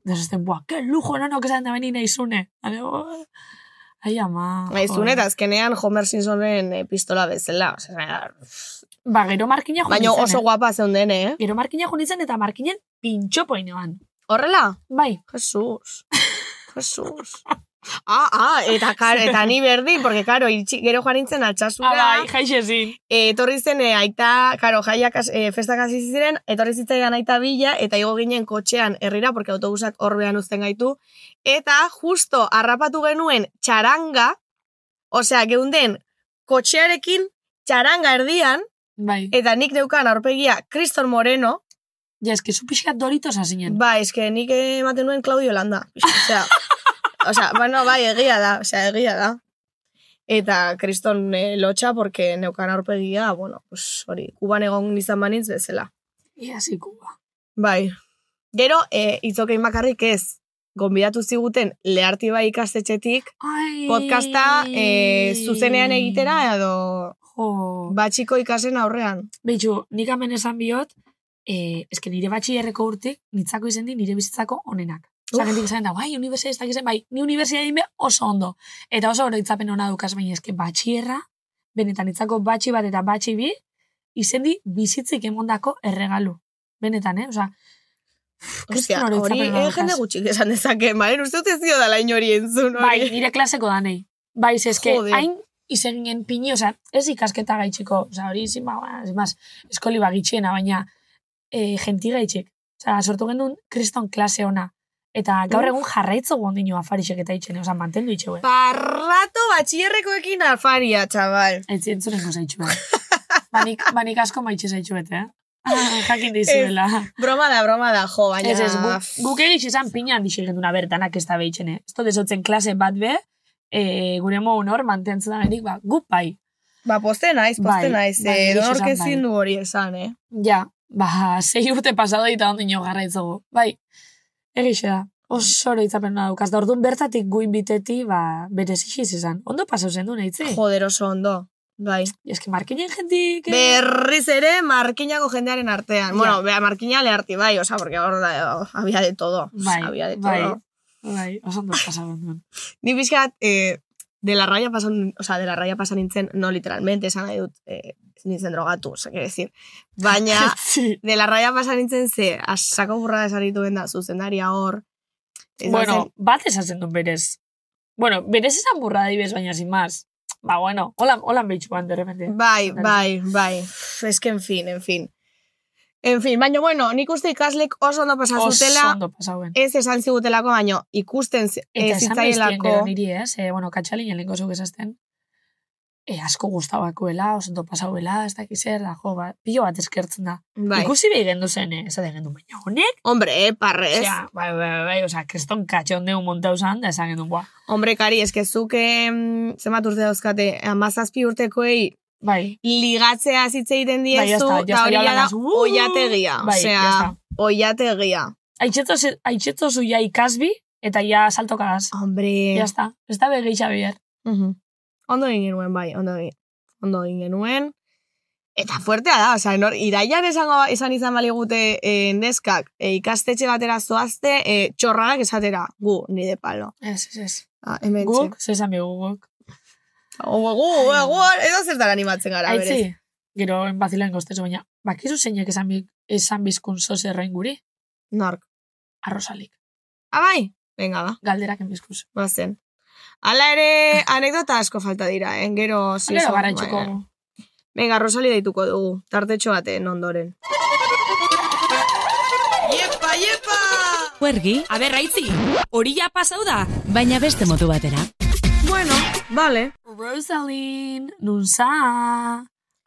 B: Da esaten, buah, que lujo, no, no, que esan da beni naizune. Hale, oh. Ai, ama.
G: Naizun
B: joder.
G: eta azkenean Homer Simpsonen eh, pistola bezala. Osea,
B: Ba, gero markina junitzen.
G: baina oso
B: eh.
G: guapa zeunden, eh?
B: Gero markina junitzen eta markinen pintxopo ineban.
G: Horrela?
B: Bai,
G: Jesus. Jesus. ah, ah, eta, kar, eta ni berdin, porque, karo, iritsi- gero joan nintzen
B: ah,
G: altxasura.
B: bai, jaixezin.
G: e, etorri zen e, aita, karo, jaiak has- e, festak hasi ziren, etorri zitzaidan aita bila, eta igo ginen kotxean herrira, porque autobusak horbean uzten gaitu, eta justo harrapatu genuen txaranga, osea, geunden kotxearekin txaranga erdian,
B: Bai.
G: eta nik neukan aurpegia Kriston Moreno,
B: Ja, eski, zu pixkat doritos azinen.
G: ba, eske nik ematen nuen Claudio Landa, osea, osea, bueno, bai, egia da, osea, egia da. Eta kriston eh, lotxa, porque neukan aurpegia, bueno, pues hori, kuban egon izan banitz bezala.
B: Ia, zikua.
G: Bai. Gero, e, itzokein bakarrik ez, gonbidatu ziguten leharti bai ikastetxetik,
B: Ai.
G: podcasta e, zuzenean egitera eh. edo
B: Jo.
G: batxiko ikasen aurrean.
B: Beitu, nik hemen esan biot, eh, eske nire batxillerreko urte, nitzako izen di nire bizitzako onenak. Osa,
G: Uf.
B: gentik esan da, bai, unibertsitatea ez dakizen, bai, ni unibertsitatea egin be oso ondo. Eta oso oroitzapen ona dukaz, baina eske batxierra, benetan nitzako batxi bat eta batxi bi, izen di bizitzik emondako erregalu. Benetan, eh? Osa,
G: Ostia,
B: Kriston
G: hori
B: oroitzapen bat
G: eh, jende
B: daukas.
G: gutxik esan dezake, maren uste dut ez dio dala inori entzun
B: Bai,
G: hori.
B: nire klaseko danei. Bai, zeske,
G: Jode.
B: hain izen ginen pini, oza, ez ikasketa gaitzeko, oza, hori izin, ba, ba, ez más, eskoli bagitxiena, baina e, genti gaitxik. Oza, sortu genuen kriston klase ona. Eta gaur egun jarraitzo gondino afarixek eta itxene, oza, mantendu eh. itxeue.
G: Parrato batxierrekoekin alfaria, txabal.
B: Ez entzuneko zaitxue. banik, banik asko maitxe zaitxuet, eh? Ah, Jakin dizuela.
G: Broma da, broma da, jo, baina...
B: Ez ez, guk, guk egitxe esan pinan dixe genduna bertanak ez da behitxene. Ez dut ezotzen klase bat be, e, gure mogun hor mantentzen da genik, ba, gup bai.
G: Ba, poste naiz, poste
B: Bai,
G: naiz.
B: bai,
G: eh, Edonork
B: esan
G: ezin
B: bai.
G: du hori esan, eh?
B: Ja, ba, sei urte pasado eta ondino garraitzago. Bai, egixe da. Oso hori itzapen da daukaz. Da orduan bertatik guin biteti, ba, berez ixiz izan. Ondo pasau zen du nahitze.
G: Joder oso ondo. Bai.
B: Eske markinen jendik... eh?
G: Berriz ere, markinako jendearen artean.
B: Ja.
G: Bueno, bea, markina leharti bai, osa, porque hor da, oh, había de todo.
B: Bai,
G: había de todo.
B: bai, bai, oso ondo pasau genuen.
G: Ni pixkat, eh, de la raya pasan, o sea, de la raya pasan nintzen, no literalmente, esan nahi dut, eh, ez nintzen drogatu, osa, quiero decir. Baina,
B: Sí.
G: de la raya pasan nintzen ze, asako burra esan dituen da, zuzendaria hor. Izan
B: Bueno,
G: zen-
B: bat esatzen du berez. Bueno, berez esan burra daibez, baina sin más. Ba, bueno, holan, holan behitxuan, de repente.
G: Bai, bai, bai. Es que, en fin, en fin. En fin, baina, bueno, nik uste ikaslek oso ondo
B: Oso
G: pasazutela,
B: ondo pasauen.
G: ez esan zigutelako, baino ikusten z-
B: Eta
G: ez
B: esan behiztien gero
G: zitzaielako.
B: niri, ez? E, bueno, katxalinen lehenko zuk esazten. E, asko gustabakoela, oso ondo pasauela, ez dakiz zer, da, jo, ba, pilo bat eskertzen da.
G: Bai.
B: Ikusi behi gendu zen, eh? Esaten gendu, baina honek?
G: Hombre, eh, parrez.
B: Osea, bai, bai, bai, bai, osea, kreston katxon deu montau zan, da esan gendu, ba.
G: Hombre, kari, eskezuk em, zenbat urte dauzkate, amazazpi urtekoei
B: Bai,
G: ligatzea zitze egiten
B: ya
G: diezu,
B: está, ya
G: eta
B: está,
G: hori
B: ya
G: da
B: hablamos. Uh!
G: oiategia.
B: Bai, ya
G: Osea,
B: está.
G: oiategia.
B: Aitzetzo ze- aitzetzo zu ja ikasbi, eta ja saltokagaz.
G: Ah, Hombre.
B: Ya está, ez da begitxa behar.
G: Mhm. Ondo egin genuen, bai, ondo egin. Ondo egin genuen. Eta fuertea da, osea, nor, iraian esango, ba- esan izan baligute eh, neskak eh, ikastetxe batera zoazte eh, txorranak esatera, gu, nire palo.
B: Ez, ez, ez.
G: Ah, hemen
B: Guk, zesan begu guk.
G: Gu, gu, gu, edo zertan animatzen gara, berez.
B: Aitzi, gero enbazilan goztezu, baina, bakizu zeinek esan, bi- esan bizkun zozerren guri?
G: Nork.
B: Arrozalik.
G: Abai? Venga, ba,
B: galderak enbizkuz.
G: bazen. Hala ere, anekdota asko falta dira, eh? gero...
B: Sí, Gero
G: zizo-
B: gara itxuko.
G: Baina. Venga, Rosali deituko dugu, tartetxo baten ondoren. Iepa, iepa!
F: Huergi,
H: Aber, aitzi, hori ja pasau da.
F: baina beste motu batera.
G: Bueno, vale.
B: Rosalind, nunza!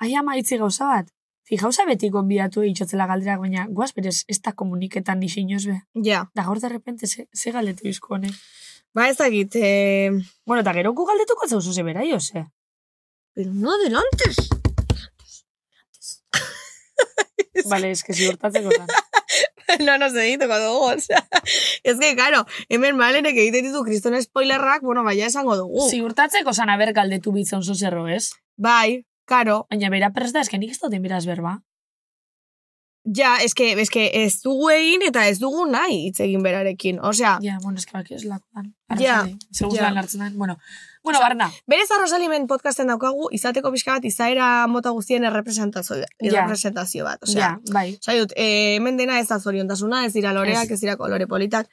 B: Aia maitzi gauza bat. Fijauza beti gonbiatu itxotzela galderak, baina guaz berez ez da komuniketan disinoz be.
G: Ja,
B: Da gaur de repente ze, ze galdetu izko honek.
G: ba ez dakit, eh...
B: Bueno, eta gero gu galdetuko zeu zuze bera, jo, ze.
G: Pero no del antes.
B: Bale, eske ziurtatzeko zan.
G: no, no se deituko dugu, o sea. Ez que, claro, hemen malenek egiten ditu kriston spoilerrak, bueno, baina esango dugu.
B: Ziurtatzeko zan aber galdetu bitzon zuzerro, ez?
G: Bai, claro.
B: Baina bera presta, eske nik ez duten beraz berba.
G: Ja, es que, es que ez dugu egin eta ez dugu nahi hitz egin berarekin. Osea,
B: Ja, bueno, eske baki ez lakoan.
G: Ja,
B: Segur
G: ja.
B: lan hartzen den. Bueno, bueno, barna.
G: Berez arrosalimen podcasten daukagu, izateko pixka bat izaera mota guztien errepresentazio,
B: Ja.
G: errepresentazio bat. Osea,
B: Ja, bai.
G: Osea, dut, eh, hemen dena ez da zoriontasuna, ez dira loreak, ez dira kolore politak.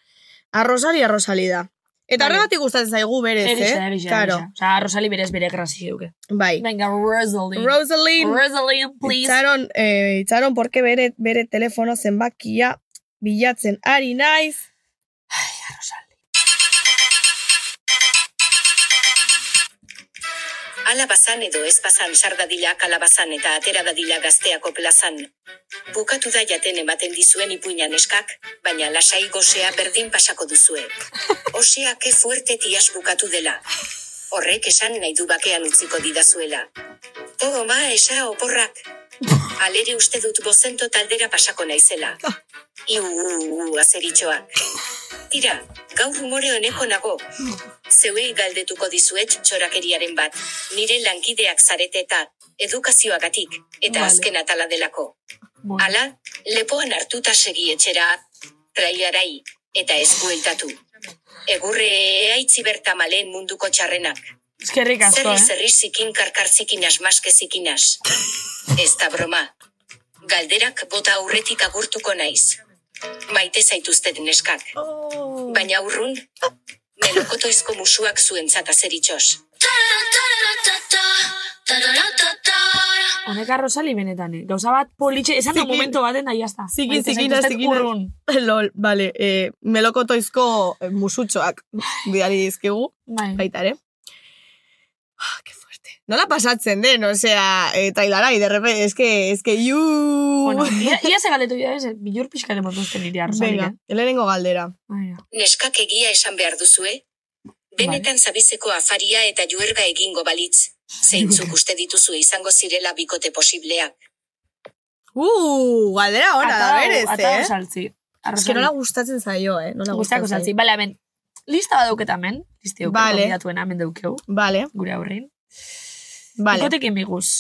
G: Arrosali, arrosali da. Eta
B: Vale.
G: horregatik gustatzen zaigu berez,
B: Erixa,
G: eh?
B: erixa, erixa.
G: Claro,
B: Osa, Rosali berez bere grazi duke.
G: bai.
B: Venga, Rosalind.
G: Rosalind,
B: Rosalind, please.
G: itxaron, eh, itxaron porque bere, bere telefono zenbakia bilatzen ari naiz.
B: Rosalind.
I: Alabazan edo ez bazan sardadila kalabazan eta atera dadila gazteako plazan. Bukatu da jaten ematen dizuen ipuinan eskak, baina lasai gozea berdin pasako duzue. Osea, ke fuerte tias bukatu dela. Horrek esan nahi du bakean utziko didazuela. Toma, esa oporrak. Alere uste dut bozento taldera pasako naizela.
B: Ah.
I: Iu, u, u, azeritxoak. Tira, gaur humore honeko nago. Zeuei galdetuko dizuet txorakeriaren bat, nire lankideak zarete eta edukazioagatik, eta
B: Vale.
I: azken atala delako.
B: Bueno,
I: Hala, lepoan hartuta segi etxera, trailarai, eta ez bueltatu. Egurre eaitzi bertamaleen munduko txarrenak.
B: Eskerrik asko,
I: Zerri
B: eh?
I: zerri zikin karkar zikinas maske zikinas. Ez da broma. Galderak bota aurretik agurtuko naiz. Maite zaituztet neskak.
G: Oh.
I: Baina urrun, melokotoizko musuak zuentzat azeritxos.
B: Honeka Rosali benetan, eh? Gauza bat politxe, esan da
G: Zikin.
B: momento baten nahi jazta.
G: Zikin,
B: Maite
G: zikina,
B: zaituztet
G: zikina.
B: Urrun.
G: Lol, bale, e, melokotoizko eh, musutxoak bidali dizkigu,
B: Bai.
G: baita ere. Ah, que fuerte. Nola pasatzen den, osea, e, tailarai, derrepe, eske, eske, iu...
B: Bueno, ia, ia ze galdetu dira, ez, bilur pixka demot duzten nire Rosali,
G: Venga,
B: eh? Bai,
G: lehenengo galdera.
B: Baina.
I: Neskak egia esan behar duzue? Benetan zabizeko afaria eta juerga egingo balitz. Zeintzuk uste dituzue izango zirela bikote posibleak.
G: Uh, galdera ona da
B: Atau-
G: berez,
B: atau
G: eh?
B: saltzi.
G: Ez que nola gustatzen zaio, eh? Nola
B: Gustako
G: gustatzen
B: saltzi.
G: zaio.
B: Bale, hemen, lista bat dauket hemen, liste daukeu,
G: Vale.
B: vale. hemen daukeu,
G: Vale,
B: gure aurrein.
G: vale.
B: Ikotekin biguz.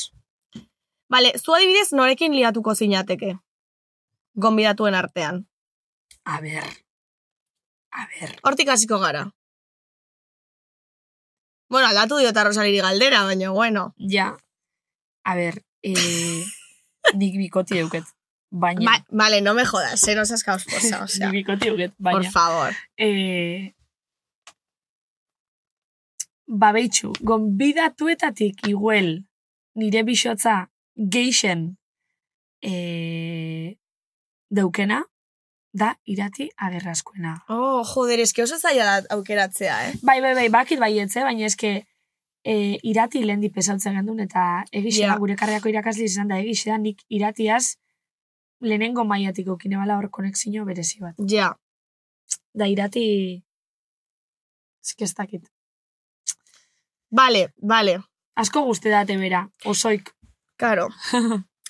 G: Vale, zu adibidez norekin liatuko zinateke? Gonbidatuen artean.
B: A ber, a ber,
G: Hortik hasiko gara. Bueno, aldatu dio eta Rosaliri galdera, baina bueno.
B: ja, a ber, eh, nik bikoti dauket, baina,
G: Ba- vale, no me jodas, eh, no seas causposa, o sea,
B: nik bikoti dauket,
G: por
B: baina.
G: favor.
B: eh, ba behitxu, gonbidatuetatik iguel nire bisotza geixen eh, daukena, da irati agerrazkoena.
G: Oh, joder, eske oso zaila da aukeratzea, eh?
B: Bai, bai, bai, bakit baietze, baina eske e, irati lehen dipesautzen gendun, eta egixea,
G: Ja.
B: gure karriako irakasle izan da egixea, nik iratiaz lehenengo maiatik okine bala hor konexio berezi bat.
G: Ja,
B: Da irati... Eske ez dakit.
G: vale, vale,
B: Asko guzti date bera, osoik.
G: karo.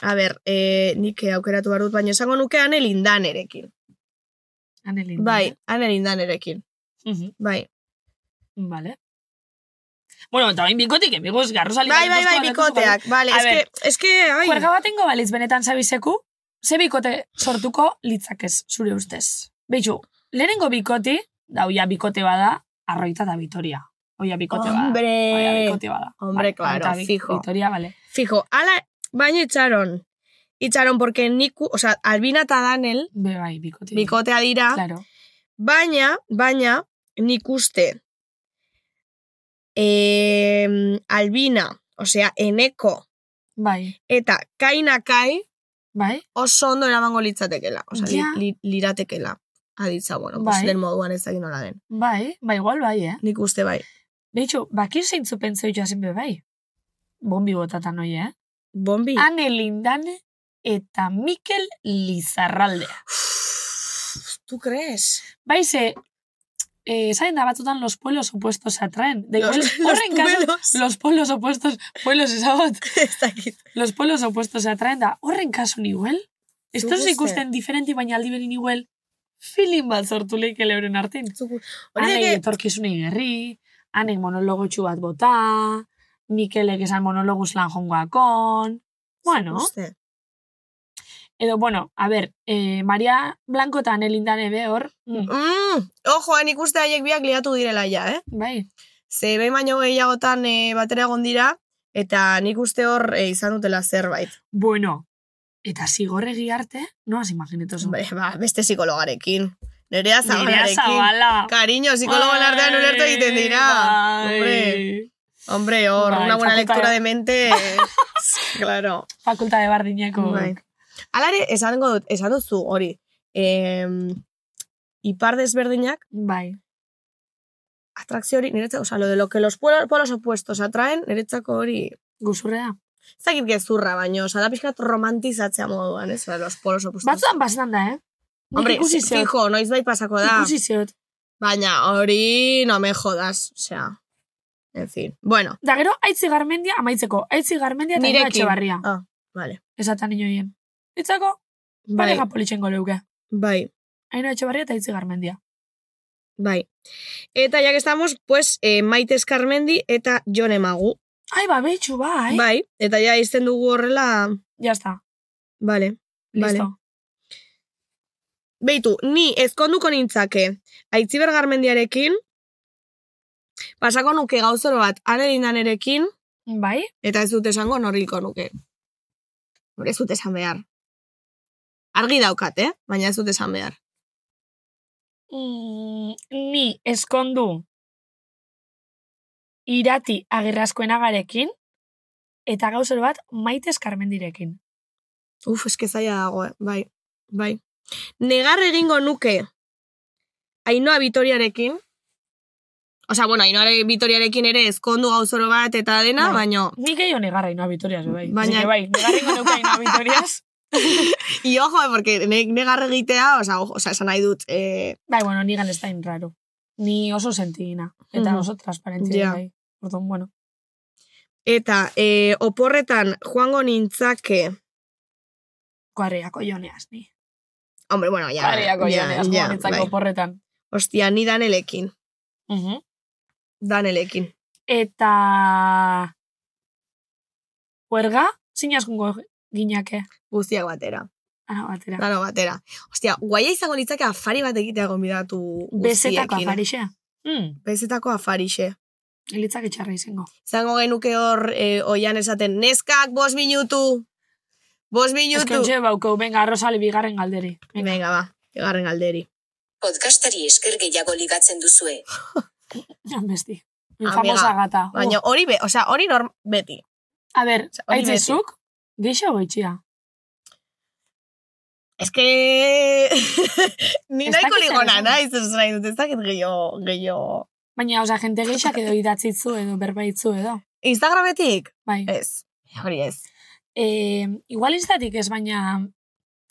G: A ber, eh, nik aukeratu behar dut, baina esango nuke ane lindanerekin.
B: Anelin. Mhm,
G: Bai, ane lindanerekin, bai.
B: Vale. Bueno, eta bain bikotik, emigos, garro sali.
G: Bai, bai, bai, bikoteak, vale,
B: A
G: eske,
B: ber.
G: eske, ai.
B: Juerga batengo balitz benetan zabizeku, ze bikote sortuko litzakez, zure ustez. Beitu, lehenengo bikoti, da oia bikote bada, arroita da Vitoria. Oia bikote bada. Oia
G: Hombre,
B: bikote bada. Bai,
G: Hombre, claro,
B: arroita bi-
G: fijo.
B: Vitoria, vale.
G: fijo, ala, baina itxaron. Itxaron, porque nik, o sea, Albina eta Danel,
B: Be, bai, bikote.
G: bikotea dira,
B: Claro.
G: baina, baina, nik uste, em, Albina, osea, Eneko,
B: Bai,
G: eta Kainakai
B: bai.
G: oso ondo eramango litzatekela, osea, li-
B: Ja.
G: li- liratekela, aditza, bueno, pues,
B: Bai.
G: den moduan ez dakit nola den.
B: Bai, bai, igual bai, eh?
G: Nik uste bai,
B: Beitu, bakir zeintzu pentseu joazen be bai. Bombi botatan hoi, eh?
G: bombi.
B: Ane Lindane eta Mikel Lizarraldea.
G: ¿Tú crees?
B: Bai, ze, eh, saben da batzutan los pueblos opuestos se atraen. De
G: Los-
B: igual,
G: los
B: horren kasu,
G: pueblos.
B: los pueblos opuestos, pueblos ezagot,
G: ez dakit.
B: los pueblos opuestos se atraen da, horren kasu niguel? Estos
G: uste.
B: ikusten diferenti baina aldi berin igual, feeling bat sortu leik eleuren artin.
G: Hori
B: Anei
G: deke,
B: etorkizunei gerri, anek monologotxu bat bota, Mikelek esan monologuz lan jongoakon, bueno,
G: Uste.
B: edo, bueno, a ber, eh, Maria Blanco eta Anelindane be hor, mm,
G: Mm, ojo, hain ikuste haiek biak liatu direla ja, eh?
B: bai,
G: Ze behin baino gehiagotan e, batera egon dira, eta nik uste hor eh, izan dutela zerbait.
B: bueno, eta zigorregi arte, noaz imaginetu zuen.
G: Hombre, ba, beste psikologarekin. Nerea
B: Nerea
G: zabalarekin.
B: zabala.
G: Kariño, psikologoen artean ulertu egiten dira.
B: Bai.
G: Hombre, hombre, hor,
B: Bai,
G: una buena
B: fakultatea.
G: lectura de mente. eh, claro.
B: Fakultate bardineko.
G: Bai. Alare, esango dut, esan duzu hori. Em, ipar desberdinak
B: Bai.
G: atrakzio hori, niretzako, oza, lo de lo que los pueblos, polos opuestos atraen, niretzako hori,
B: Guzurrea.
G: ez dakit gezurra, baino, oza, da pixkat romantizatzea moduan, ez, Oza, los polos opuestos.
B: Batzuan pasetan da, eh? Nik
G: Hombre,
B: ikusi zeot,
G: fijo, noiz bai pasako da,
B: ikusi zeot.
G: baina hori no me jodas, osea, en fin, bueno,
B: Da gero, aitzi garmendia, amaitzeko, aitzi garmendia eta nire
G: Nirekin.
B: etxebarria.
G: Ah. vale,
B: Esatan inoien. Itzako,
G: bai,
B: pareja politxengo leuke.
G: bai,
B: Aino etxebarria eta aitzi garmendia.
G: bai. Eta ya que estamos, pues, eh, Maite Eskarmendi eta Jon Emagu,
B: Ai, ba, behitxu, bai. Ba.
G: bai, eta ja izten dugu horrela,
B: Ya está,
G: vale, vale.
B: listo.
G: Beitu, ni ezkonduko nintzake aitziber garmendiarekin, pasako nuke gauzoro bat anelin danerekin,
B: Bai?
G: eta ez dut esango norilko nuke. Hore, ez dut esan behar. Argi daukat, eh? Baina ez dut esan behar.
B: Mm, ni eskondu irati agerrazkoenagarekin eta gauzero bat maite eskarmendirekin.
G: Uf, eske zaila dago, eh. bai, bai. Negar egingo nuke Ainoa Vitoriarekin. Osea, bueno, Ainoa Vitoriarekin ere ezkondu gauzoro bat eta dena,
B: Bai.
G: baino
B: Ni gehiago negarra inoa bitoriaz, bai.
G: Baina-
B: Baina... bai, negarra nuke inoa bitoriaz.
G: I ojo, eh, porque ne, negar egitea, oza, ojo, oza, esan nahi dut, eh,
B: Bai, bueno, nigan ez da inraro. Ni oso sentigina. Eta
G: Mhm.
B: oso transparentzia
G: Ja.
B: bai. Orduan, bueno.
G: eta eh, oporretan joango nintzake,
B: Koarriako joneaz, ni.
G: hombre, bueno, ja,
B: Koarriako
G: ja,
B: joneaz,
G: ja,
B: guanitzako
G: bai.
B: porretan.
G: Ostia, ni danelekin,
B: Mhm.
G: danelekin.
B: Eta... Huerga, zinazkungo ginake.
G: Guztiak batera,
B: Ara, batera.
G: dano batera. Ostia, guaia izango litzake afari bat egitea gonbidatu guztiekin. eh?
B: Bezetako afarixea.
G: Hmm.
B: Mm,
G: Bezetako afarixe.
B: elitzak itxarra izango.
G: Zango genuke hor, eh, oian esaten, neskak, bos minutu, bos minutu.
B: Eskontxe bauko, ba, venga, Rosali bigarren galderi. Venga.
G: Venga, ba, egarren galderi.
I: Podcastari esker gehiago ligatzen duzue.
B: Besti.
G: Amiga,
B: Famosa gata. Uh.
G: Baina hori, be, osea, hori norm beti.
B: A ber,
G: Osea, hori beti.
B: aitzizuk, geixo goitxia.
G: Ez que... Ni
B: Ez
G: nahiko
B: dakit zer
G: ligona,
B: esan.
G: nahi, zer nahi dut, ez dakit gehiago, gehiago...
B: Baina, oza, jente geixak edo idatzitzu edo berbaitzu edo.
G: Instagrametik?
B: Bai.
G: Ez, hori ez.
B: E, igual instatik ez, baina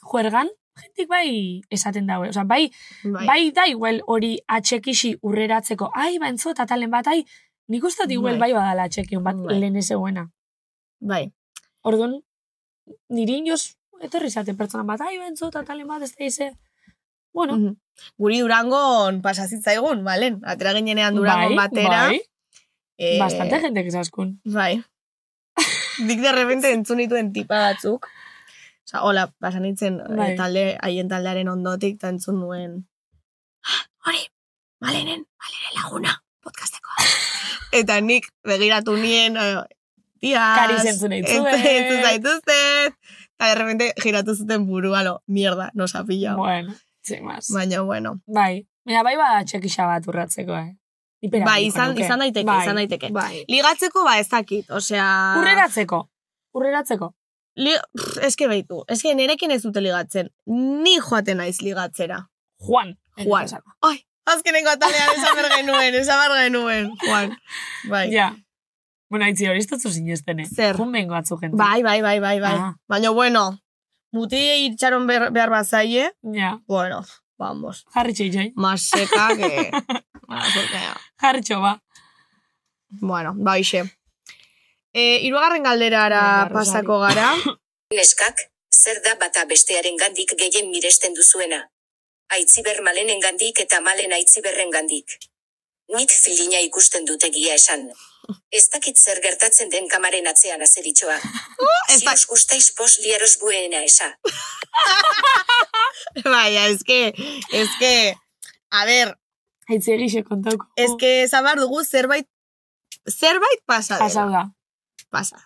B: juergan, jentik bai esaten daue. Oza, bai,
G: Bai.
B: bai, da igual hori atxekixi urreratzeko. Ai, ba, entzu eta talen bat, ai, nik uste dut igual
G: Bai.
B: bai badala atxekion bat
G: Bai.
B: lehen ezegoena.
G: bai.
B: Orduan, niri inoz, etorri zaten pertsonan bat, ai, ba, entzu eta talen bat, ez da ize. Bueno,
G: Mhm. Guri durangon pasazitzaigun, balen? Atera ginenean durangon batera.
B: bai,
G: eh,
B: bastante jente ezaskun.
G: Bai. Dik de repente entzun nituen tipa batzuk. Osa, hola, pasan nintzen eh,
B: Bai.
G: talde, haien taldearen ondotik, eta entzun nuen. "Ah, Hori, balenen, balenen laguna, podcastekoa. eta nik begiratu nien, eh, tiaz.
B: Kariz entzun
G: entzun
B: eitzue.
G: entzun zaituztet. Eta de repente giratu zuten burua, lo, mierda, nos ha pillado.
B: Bueno, sin más.
G: Baina, bueno.
B: Bai. Baina bai bada txekixa bat urratzeko, eh. Ipera,
G: Bai, izan, izan daiteke, izan daiteke.
B: Bai.
G: Ligatzeko, ba, ez dakit, osea...
B: Urreratzeko. Urreratzeko.
G: Li... pff, eske baitu, eske nerekin ez dute ligatzen. Ni joaten naiz ligatzera.
B: Juan.
G: Juan.
B: Esan.
G: Azkenengo atalean esan behar genuen, esan behar genuen, Juan. Bai.
B: Ja. Bueno, haitzi hori ez dutzu zinezten, eh.
G: Zer?
B: Jun bengo atzu jente.
G: Bai, bai, bai, bai, bai.
B: Ah.
G: Baina, bueno, muti itxaron behar, behar bazaie,
B: Ja.
G: bueno, vamos,
B: Jarritxo itxain.
G: más seka que... Bueno, zortea.
B: Jarritxo, ba.
G: bueno, ba, hoxe. Eh, iruagarren galderara
B: Venga, Rosari.
G: pasako gara.
I: Neskak, zer da bata bestearen gandik gehien miresten duzuena. Aitziber malenen gandik eta malen aitziberren gandik. Nik filina ikusten dut egia esan. Ez dakit zer gertatzen den kamaren atzean azeritxoa.
G: ez
I: Si
G: da-
I: os gustais pos liaros buena esa.
G: Baina, eske, eske, a ber,
B: Haitzi egixe kontauko.
G: eske esan behar dugu zerbait, zerbait pasa dela.
B: Pasau da.
G: pasa.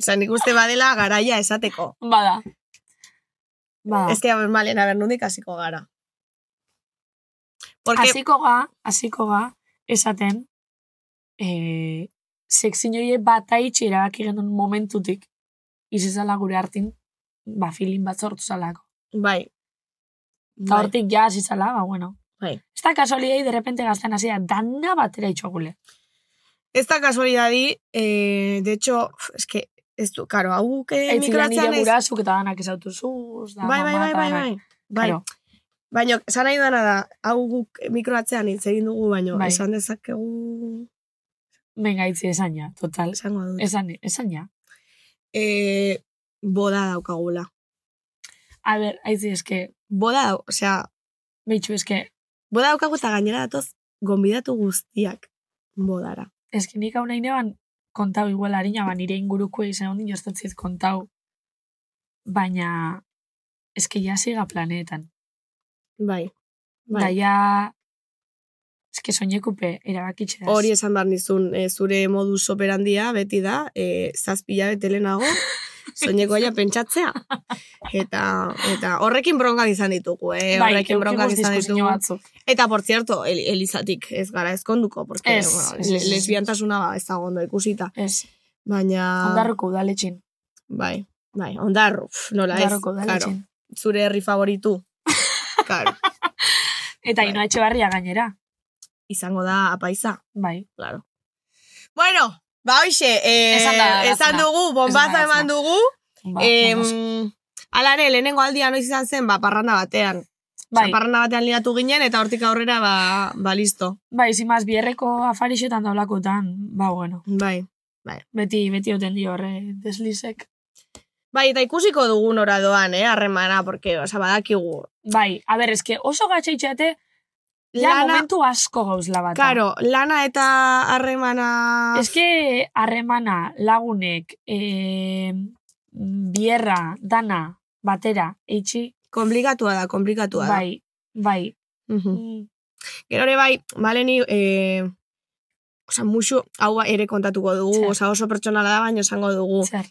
G: Osa, nik uste badela garaia esateko.
B: Bada. Ba.
G: Ez que, a ber, malen, a ber, nondik hasiko gara. Porque,
B: Hasiko ga, hasiko ga, esaten, eh, sekzinoie bat aitxe erabaki genuen momentutik, izizala gure hartin, ba, filin bat sortu zalako.
G: bai.
B: Eta
G: bai.
B: hortik ja zizala, ba, bueno.
G: Bai.
B: Ez da kasualidei, de repente gazten hasi da, dana batera itxogule.
G: Ez da kasualidadi, eh, de hecho, es que, ez du, karo, hau eh,
B: Eitzi da
G: migratzen
B: nire
G: ez...
B: gurasuk eta danak ezautu zuz, da,
G: Bai, bai,
B: mama
G: bai,
B: eta
G: bai,
B: danak.
G: bai. bai.
B: Claro.
G: Baina, esan nahi dana da, hau guk mikroatzean hitz egin dugu, baino,
B: Bai.
G: esan dezakegu,
B: Venga, itzi, esan ja, total.
G: esango dut.
B: Esan, esan ja.
G: Eh, boda daukagula.
B: A ber, aitzi, eske,
G: Boda, dau- osea,
B: bitxu, eske,
G: Boda daukagu eta gainera datoz, gonbidatu guztiak bodara.
B: eske nik hau nahi neban kontau igual harina, ba, nire inguruko izan ondin joztatzit kontau. Baina, eske ja ziga planetan.
G: Bai.
B: Da
G: bai.
B: ja, eske soinekupe erabakitxe
G: Hori eh, esan behar nizun, e, zure modus operandia beti da, e, zazpila bete eh, lehenago, soineko ja pentsatzea. Eta, eta horrekin bronkan izan ditugu,
B: Bai,
G: eh? horrekin bronkan
B: edukimos
G: izan
B: diskusio
G: ditugu.
B: batzuk.
G: Eta, por cierto, el, elizatik ez gara ezkonduko, porque
B: Ez,
G: bueno,
B: ez, ez, ez.
G: lesbiantasuna ba, ez dago ondo ikusita.
B: Ez,
G: Baina...
B: ondarroko udaletxin.
G: Bai, bai, ondarru, pf, nola ez,
B: Ondarroko
G: claro.
B: udaletxin.
G: Zure herri favoritu. Claro,
B: Eta
G: Bai.
B: inoa etxebarria gainera.
G: izango da apaiza,
B: Bai.
G: claro. Bueno, ba hoxe, eh,
B: Esan da gatzena.
G: esan dugu, bombaza
B: gatzena.
G: eman dugu.
B: Ba,
G: Em,
B: vamos.
G: Hala ere, lehenengo aldia noiz izan zen, ba, parranda batean.
B: bai,
G: Parranda batean liatu ginen, eta hortik aurrera, ba, ba listo.
B: bai, zimaz, bierreko afarixetan daulakotan, ba, bueno,
G: Bai.
B: beti, beti oten dio horre deslizek.
G: Bai, eta ikusiko dugu nora doan, eh, harremana, porque, oza, badakigu.
B: Bai, a ber, eske oso gatxe itxeate, ja momentu asko gauzla bat.
G: Karo, lana eta harremana...
B: Eske harremana, lagunek, eh, bierra, dana, batera, eitxi,
G: Komplikatua da, komplikatua da.
B: bai, bai.
G: Mhm.
B: Mm,
G: Gero ere bai, maleni, eh, oza, musu, hau bai ere kontatuko dugu,
B: Zer.
G: oza, oso pertsonala da, baina esango dugu.
B: Zer,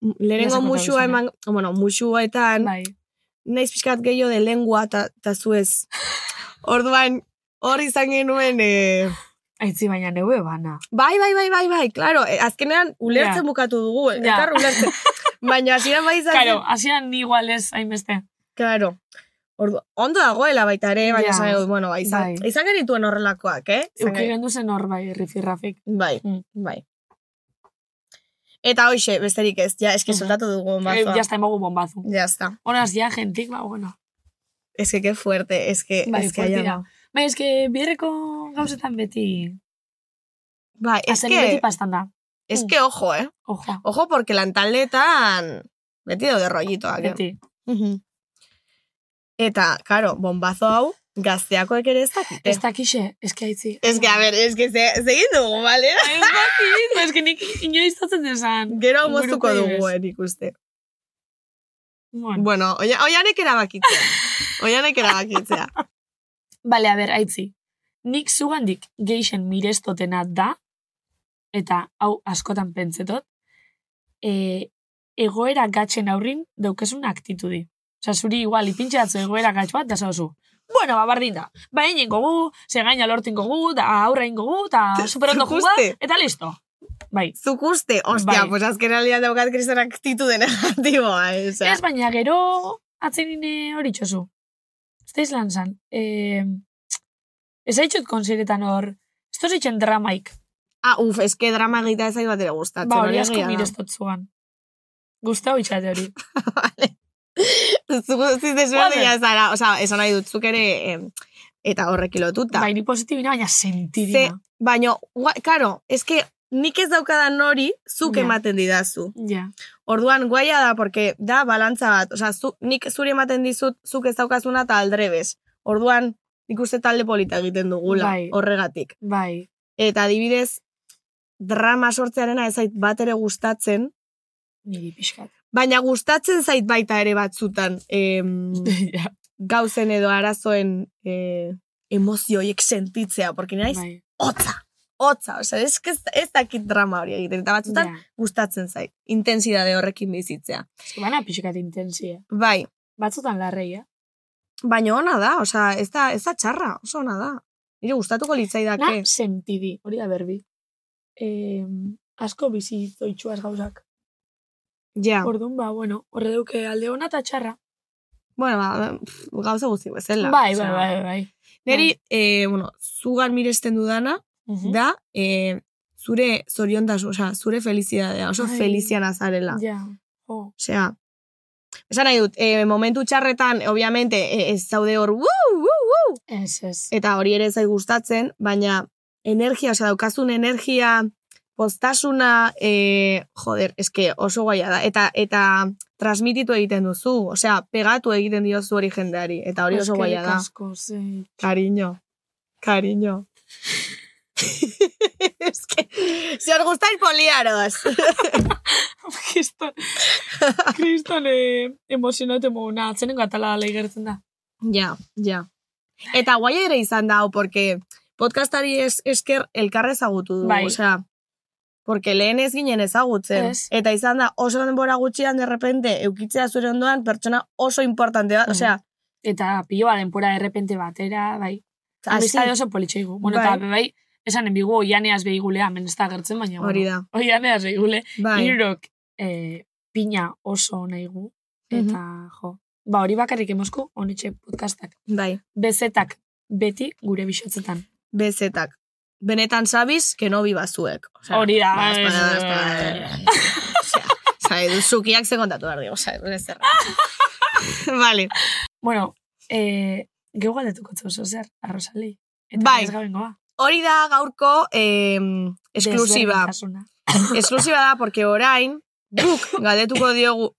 G: Lehenengo
B: Ia sakotako
G: musua
B: izan, eh?
G: eman, bueno, musuetan,
B: bai.
G: naiz pixkat gehiago de lengua eta zuez. Orduan, hor izan genuen, eh,
B: Aitzi baina neue bana.
G: bai, bai, bai, bai, bai, klaro, eh, azkenean ulertzen
B: Ja.
G: bukatu dugu,
B: Ja.
G: elkar ulertzen. Baina hasieran bai izan
B: Karo,
G: zen-
B: hasian ni igual ez, hainbeste.
G: Claro. Ordu, ondo dagoela baita ere, baina
B: Ja.
G: esan dut, bueno, bai, izan,
B: Bai.
G: izan genituen horrelakoak, eh? Izan
B: Euki gendu zen hor, bai, rifirrafik.
G: Bai,
B: Mm.
G: bai. Eta hoxe, besterik ez, ja, eske
B: Mhm.
G: soldatu dugu
B: Eh,
G: mazoa.
B: ja está emogu bombazu.
G: Ya está.
B: Horaz, ja, gentik, ba, bueno.
G: Es que qué fuerte, es que...
B: Bai,
G: es que
B: fuertira.
G: haya-
B: Bai, eske bierreko gauzetan beti,
G: Bai, es
B: azeri beti Mm.
G: que,
B: pastan da.
G: es que ojo, eh?
B: Ojo,
G: Ojo, porque lantaldetan beti daude rollitoak. eh?
B: beti.
G: Mhm. Eta, claro, bombazo hau, gazteakoek ere ez dakite.
B: Ez dakixe, eske aitzi.
G: Es que, a ver, es que ze, zegin dugu, bale?
B: Ez dakit, ba, ez que nik inoiz zaten desan.
G: Gero hau
B: Inguruko
G: moztuko dugu,
B: ibes.
G: eh, nik uste.
B: Bueno.
G: Bueno, oia- oianek erabakitzea. Oianek erabakitzea.
B: Bale, a ber, aitzi. Nik zugandik geixen mirestotena da, eta hau askotan pentsetot, e, egoera gatzen aurrin daukesun aktitudi. Osa, zuri igual, ipintxatzu egoera gatz bat, da zauzu. Bueno, ba, bardin da. Ba, einen gogu, zegaina lortin gogu, da aurra ingo gu, da superondo
G: zuk
B: juga,
G: uste?
B: eta listo. Bai.
G: Zuk uste, ostia,
B: Bai.
G: pues azken alian daukat kriston aktitu den negatiboa, eh, osea.
B: Ez, baina gero atzenine hori txosu. Ez da izan zan. E, ez haitxot konziretan hor, ez da zitzen dramaik.
G: Ah, uf, eske drama egitea ezai bat ere gustatzen.
B: Ba, hori
G: hori
B: asko
G: egia da.
B: mireztot zuan. Guztau itxate hori.
G: Zuk guztiz desberdina
B: Joder.
G: zara, osea, esan nahi dut, zuk ere, em, eta horrekin lotuta.
B: Bai, ni positibina, baina sentidina.
G: Baina, gua- karo, eske nik ez daukadan hori, zuk
B: Ja.
G: ematen didazu.
B: Ja,
G: Orduan, guaia da, porque da balantza bat. Osea, zu, nik zuri ematen dizut, zuk ez daukazuna eta aldrebes. Orduan, nik uste talde polita egiten dugula,
B: Bai.
G: horregatik.
B: bai.
G: Eta adibidez, drama sortzearena ez zait bat ere gustatzen,
B: Niri pixkat.
G: baina gustatzen zait baita ere batzutan em,
B: ja,
G: gauzen edo arazoen eh, emozioiek sentitzea, porque naiz
B: bai.
G: hotza, hotza, osea, ez, ez, ez dakit drama hori egiten, eta
B: Ja.
G: batzutan gustatzen zait, intensidade horrekin bizitzea.
B: Ez que Bana pixkat intensia.
G: Bai,
B: Batzutan larreia.
G: baina ona da, osea, ez da, ez da txarra, oso ona da. Nire gustatuko
B: Na,
G: litzaidake.
B: sentidi, hori da berbi. Eh, asko bizi zoitxuaz gauzak.
G: Ja,
B: Orduan, ba, bueno, horre duke alde hona eta txarra.
G: bueno, ba, pff, gauza guzti bezala.
B: Bai, bai,
G: osea.
B: bai, bai.
G: Neri, eh, bueno, zugan miresten dudana,
B: Mhm.
G: da, eh, zure zoriontas, osea, zure felizidadea, oso
B: Ai.
G: feliziana zarela.
B: Ja, jo.
G: Osea, esan nahi dut, eh, momentu txarretan, obviamente, eh, ez zaude hor, "Wuu, wuu, wuu",
B: Ez, ez.
G: eta hori ere zai gustatzen, baina energia, osea, daukazun energia, postasuna, eh, joder, eske oso guaia da, eta, eta transmititu egiten duzu, osea, pegatu egiten diozu hori jendeari, eta hori oso guaia da.
B: Asko, zei.
G: Cariño, cariño. es que si os gustáis poliaros.
B: Kriston, kriston eh, emozionatu mouna, atzenengo atala leigertzen da.
G: ja, ja. Eta guai ere izan da, hau, porque podcastari es, esker elkarre ezagutu dugu.
B: Bai.
G: Osea, Porque lehen ez ginen ezagutzen.
B: Ez.
G: Eta izan da, oso denbora gutxian, derrepente, eukitzea zure ondoan, pertsona oso importante da.
B: Mm.
G: Osea,
B: Eta pilo bat denpora errepente batera, bai.
G: hasi,
B: Amistade oso politxe igu. Bueno,
G: Ah, Bai.
B: eta bai, esan enbigu oianeaz behigulea, hemen ez da gertzen, baina.
G: hori da.
B: Bueno, oianeaz behigule.
G: Bai.
B: Hirurok eh, pina oso nahi gu. Eta, jo. Ba, hori bakarrik emozku, honetxe podcastak.
G: Bai.
B: Bezetak beti gure bisotzetan.
G: Bezetak. Benetan sabiz, kenobi bazuek. Osea,
B: Hori da.
G: ba, ez da, ez da. Osea, zai, zukiak ze kontatu behar dugu, zai, ez zerra. Vale.
B: Bueno, eh, geu galdetuko oso zer, arrozali. Eta
G: Bai.
B: ez gabengoa.
G: Hori da gaurko eh, esklusiba.
B: Desberdintasuna.
G: Esklusiba da, porque orain, guk galdetuko diogu.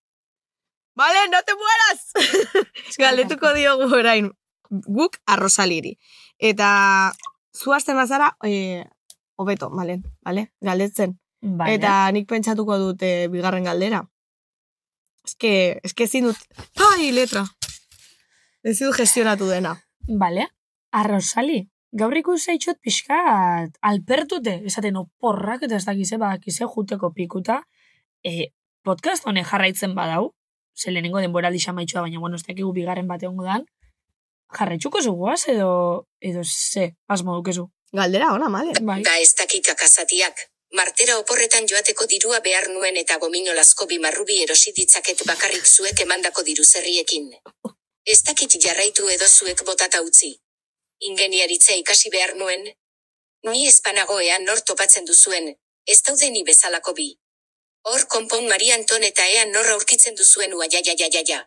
G: Vale, no te mueras! galdetuko diogu orain. Guk arrosaliri. Eta zuazten bazara, eh, hobeto, vale, vale, galdetzen.
B: Vale.
G: Eta nik pentsatuko dut eh, bigarren galdera. Eske, eske ezin dut... Ai, letra! Ezin dut gestionatu dena.
B: Vale. Arrozali. Gaur ikusi zaitxot pixkat alpertute, esaten oporrak eta ez dakize badakize juteko pikuta. E, podcast honen jarraitzen badau, ze lehenengo denbora maitxua, baina bueno, ez dakigu bigarren bate hongo dan, jarraitzuko zuguaz edo, edo ze, asmo dukezu.
G: Galdera ona, male.
B: Bai.
I: Da Ba, ez dakita kasatiak. Martera oporretan joateko dirua behar nuen eta gominolazko bi marrubi erosi ditzaket bakarrik zuek emandako diruzerriekin. Ez dakit jarraitu edo zuek botata utzi. Ingeniaritza ikasi behar nuen. Ni espanagoean nor topatzen duzuen, ez daude ni bezalako bi. Hor konpon Maria Anton eta ean nor aurkitzen duzuen ua ja ja ja ja ja.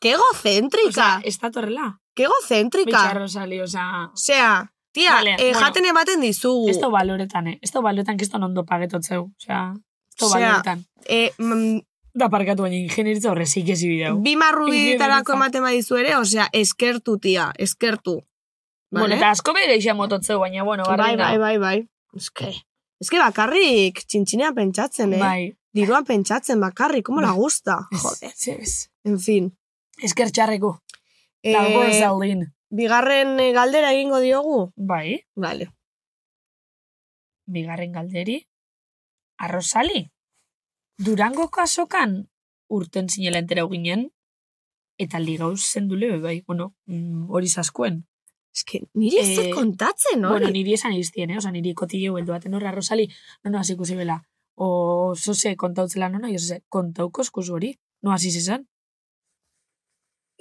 G: Que egocentrika!
B: ez da torrela.
G: que
B: Bitsa
G: egocentrika!
B: Arrozali, osea...
G: Osea, tia,
B: Vale,
G: eh,
B: bueno.
G: jaten ematen dizugu.
B: Ez da baloretan, eh? Ez da baloretan, kiston ondo pagetotzeu. Osea, ez da
G: Osea,
B: baloretan.
G: Eh, mm,
B: Da parkatu baina ingenieritza horrezik ez bideu.
G: bi marrubitarako
B: Ingeniaritza.
G: ematen badizu ere, osea, eskertu, tia, eskertu.
B: Bueno,
G: Vale?
B: eta asko bere isa mototzeu, baina, bueno,
G: bai,
B: garbi
G: bai, bai, bai. Eske, eske bakarrik txintxinean pentsatzen, eh?
B: Bai.
G: Diruan pentsatzen bakarrik, como la
B: Bai.
G: gusta. Joder.
B: Joder. Ez,
G: En fin.
B: Esker txarreko. Dago ez
G: Eh,
B: aldin.
G: bigarren eh, galdera egingo diogu?
B: Bai,
G: Vale.
B: bigarren galderi. Arrozali. Durango kasokan urten zinela entera ginen, eta ligauz zendule, bai, bueno, mm, hori zaskuen.
G: Ez que niri ez
B: Eh,
G: zait kontatzen, hori.
B: Bueno, niri esan iztien, eh? Osa, niri kotile hueldu baten horra Rosali, no, no, hasi ikusi bela. O, zoze, kontautzela, no, no, zoze, kontauko eskuzu hori. No, hasi zizan.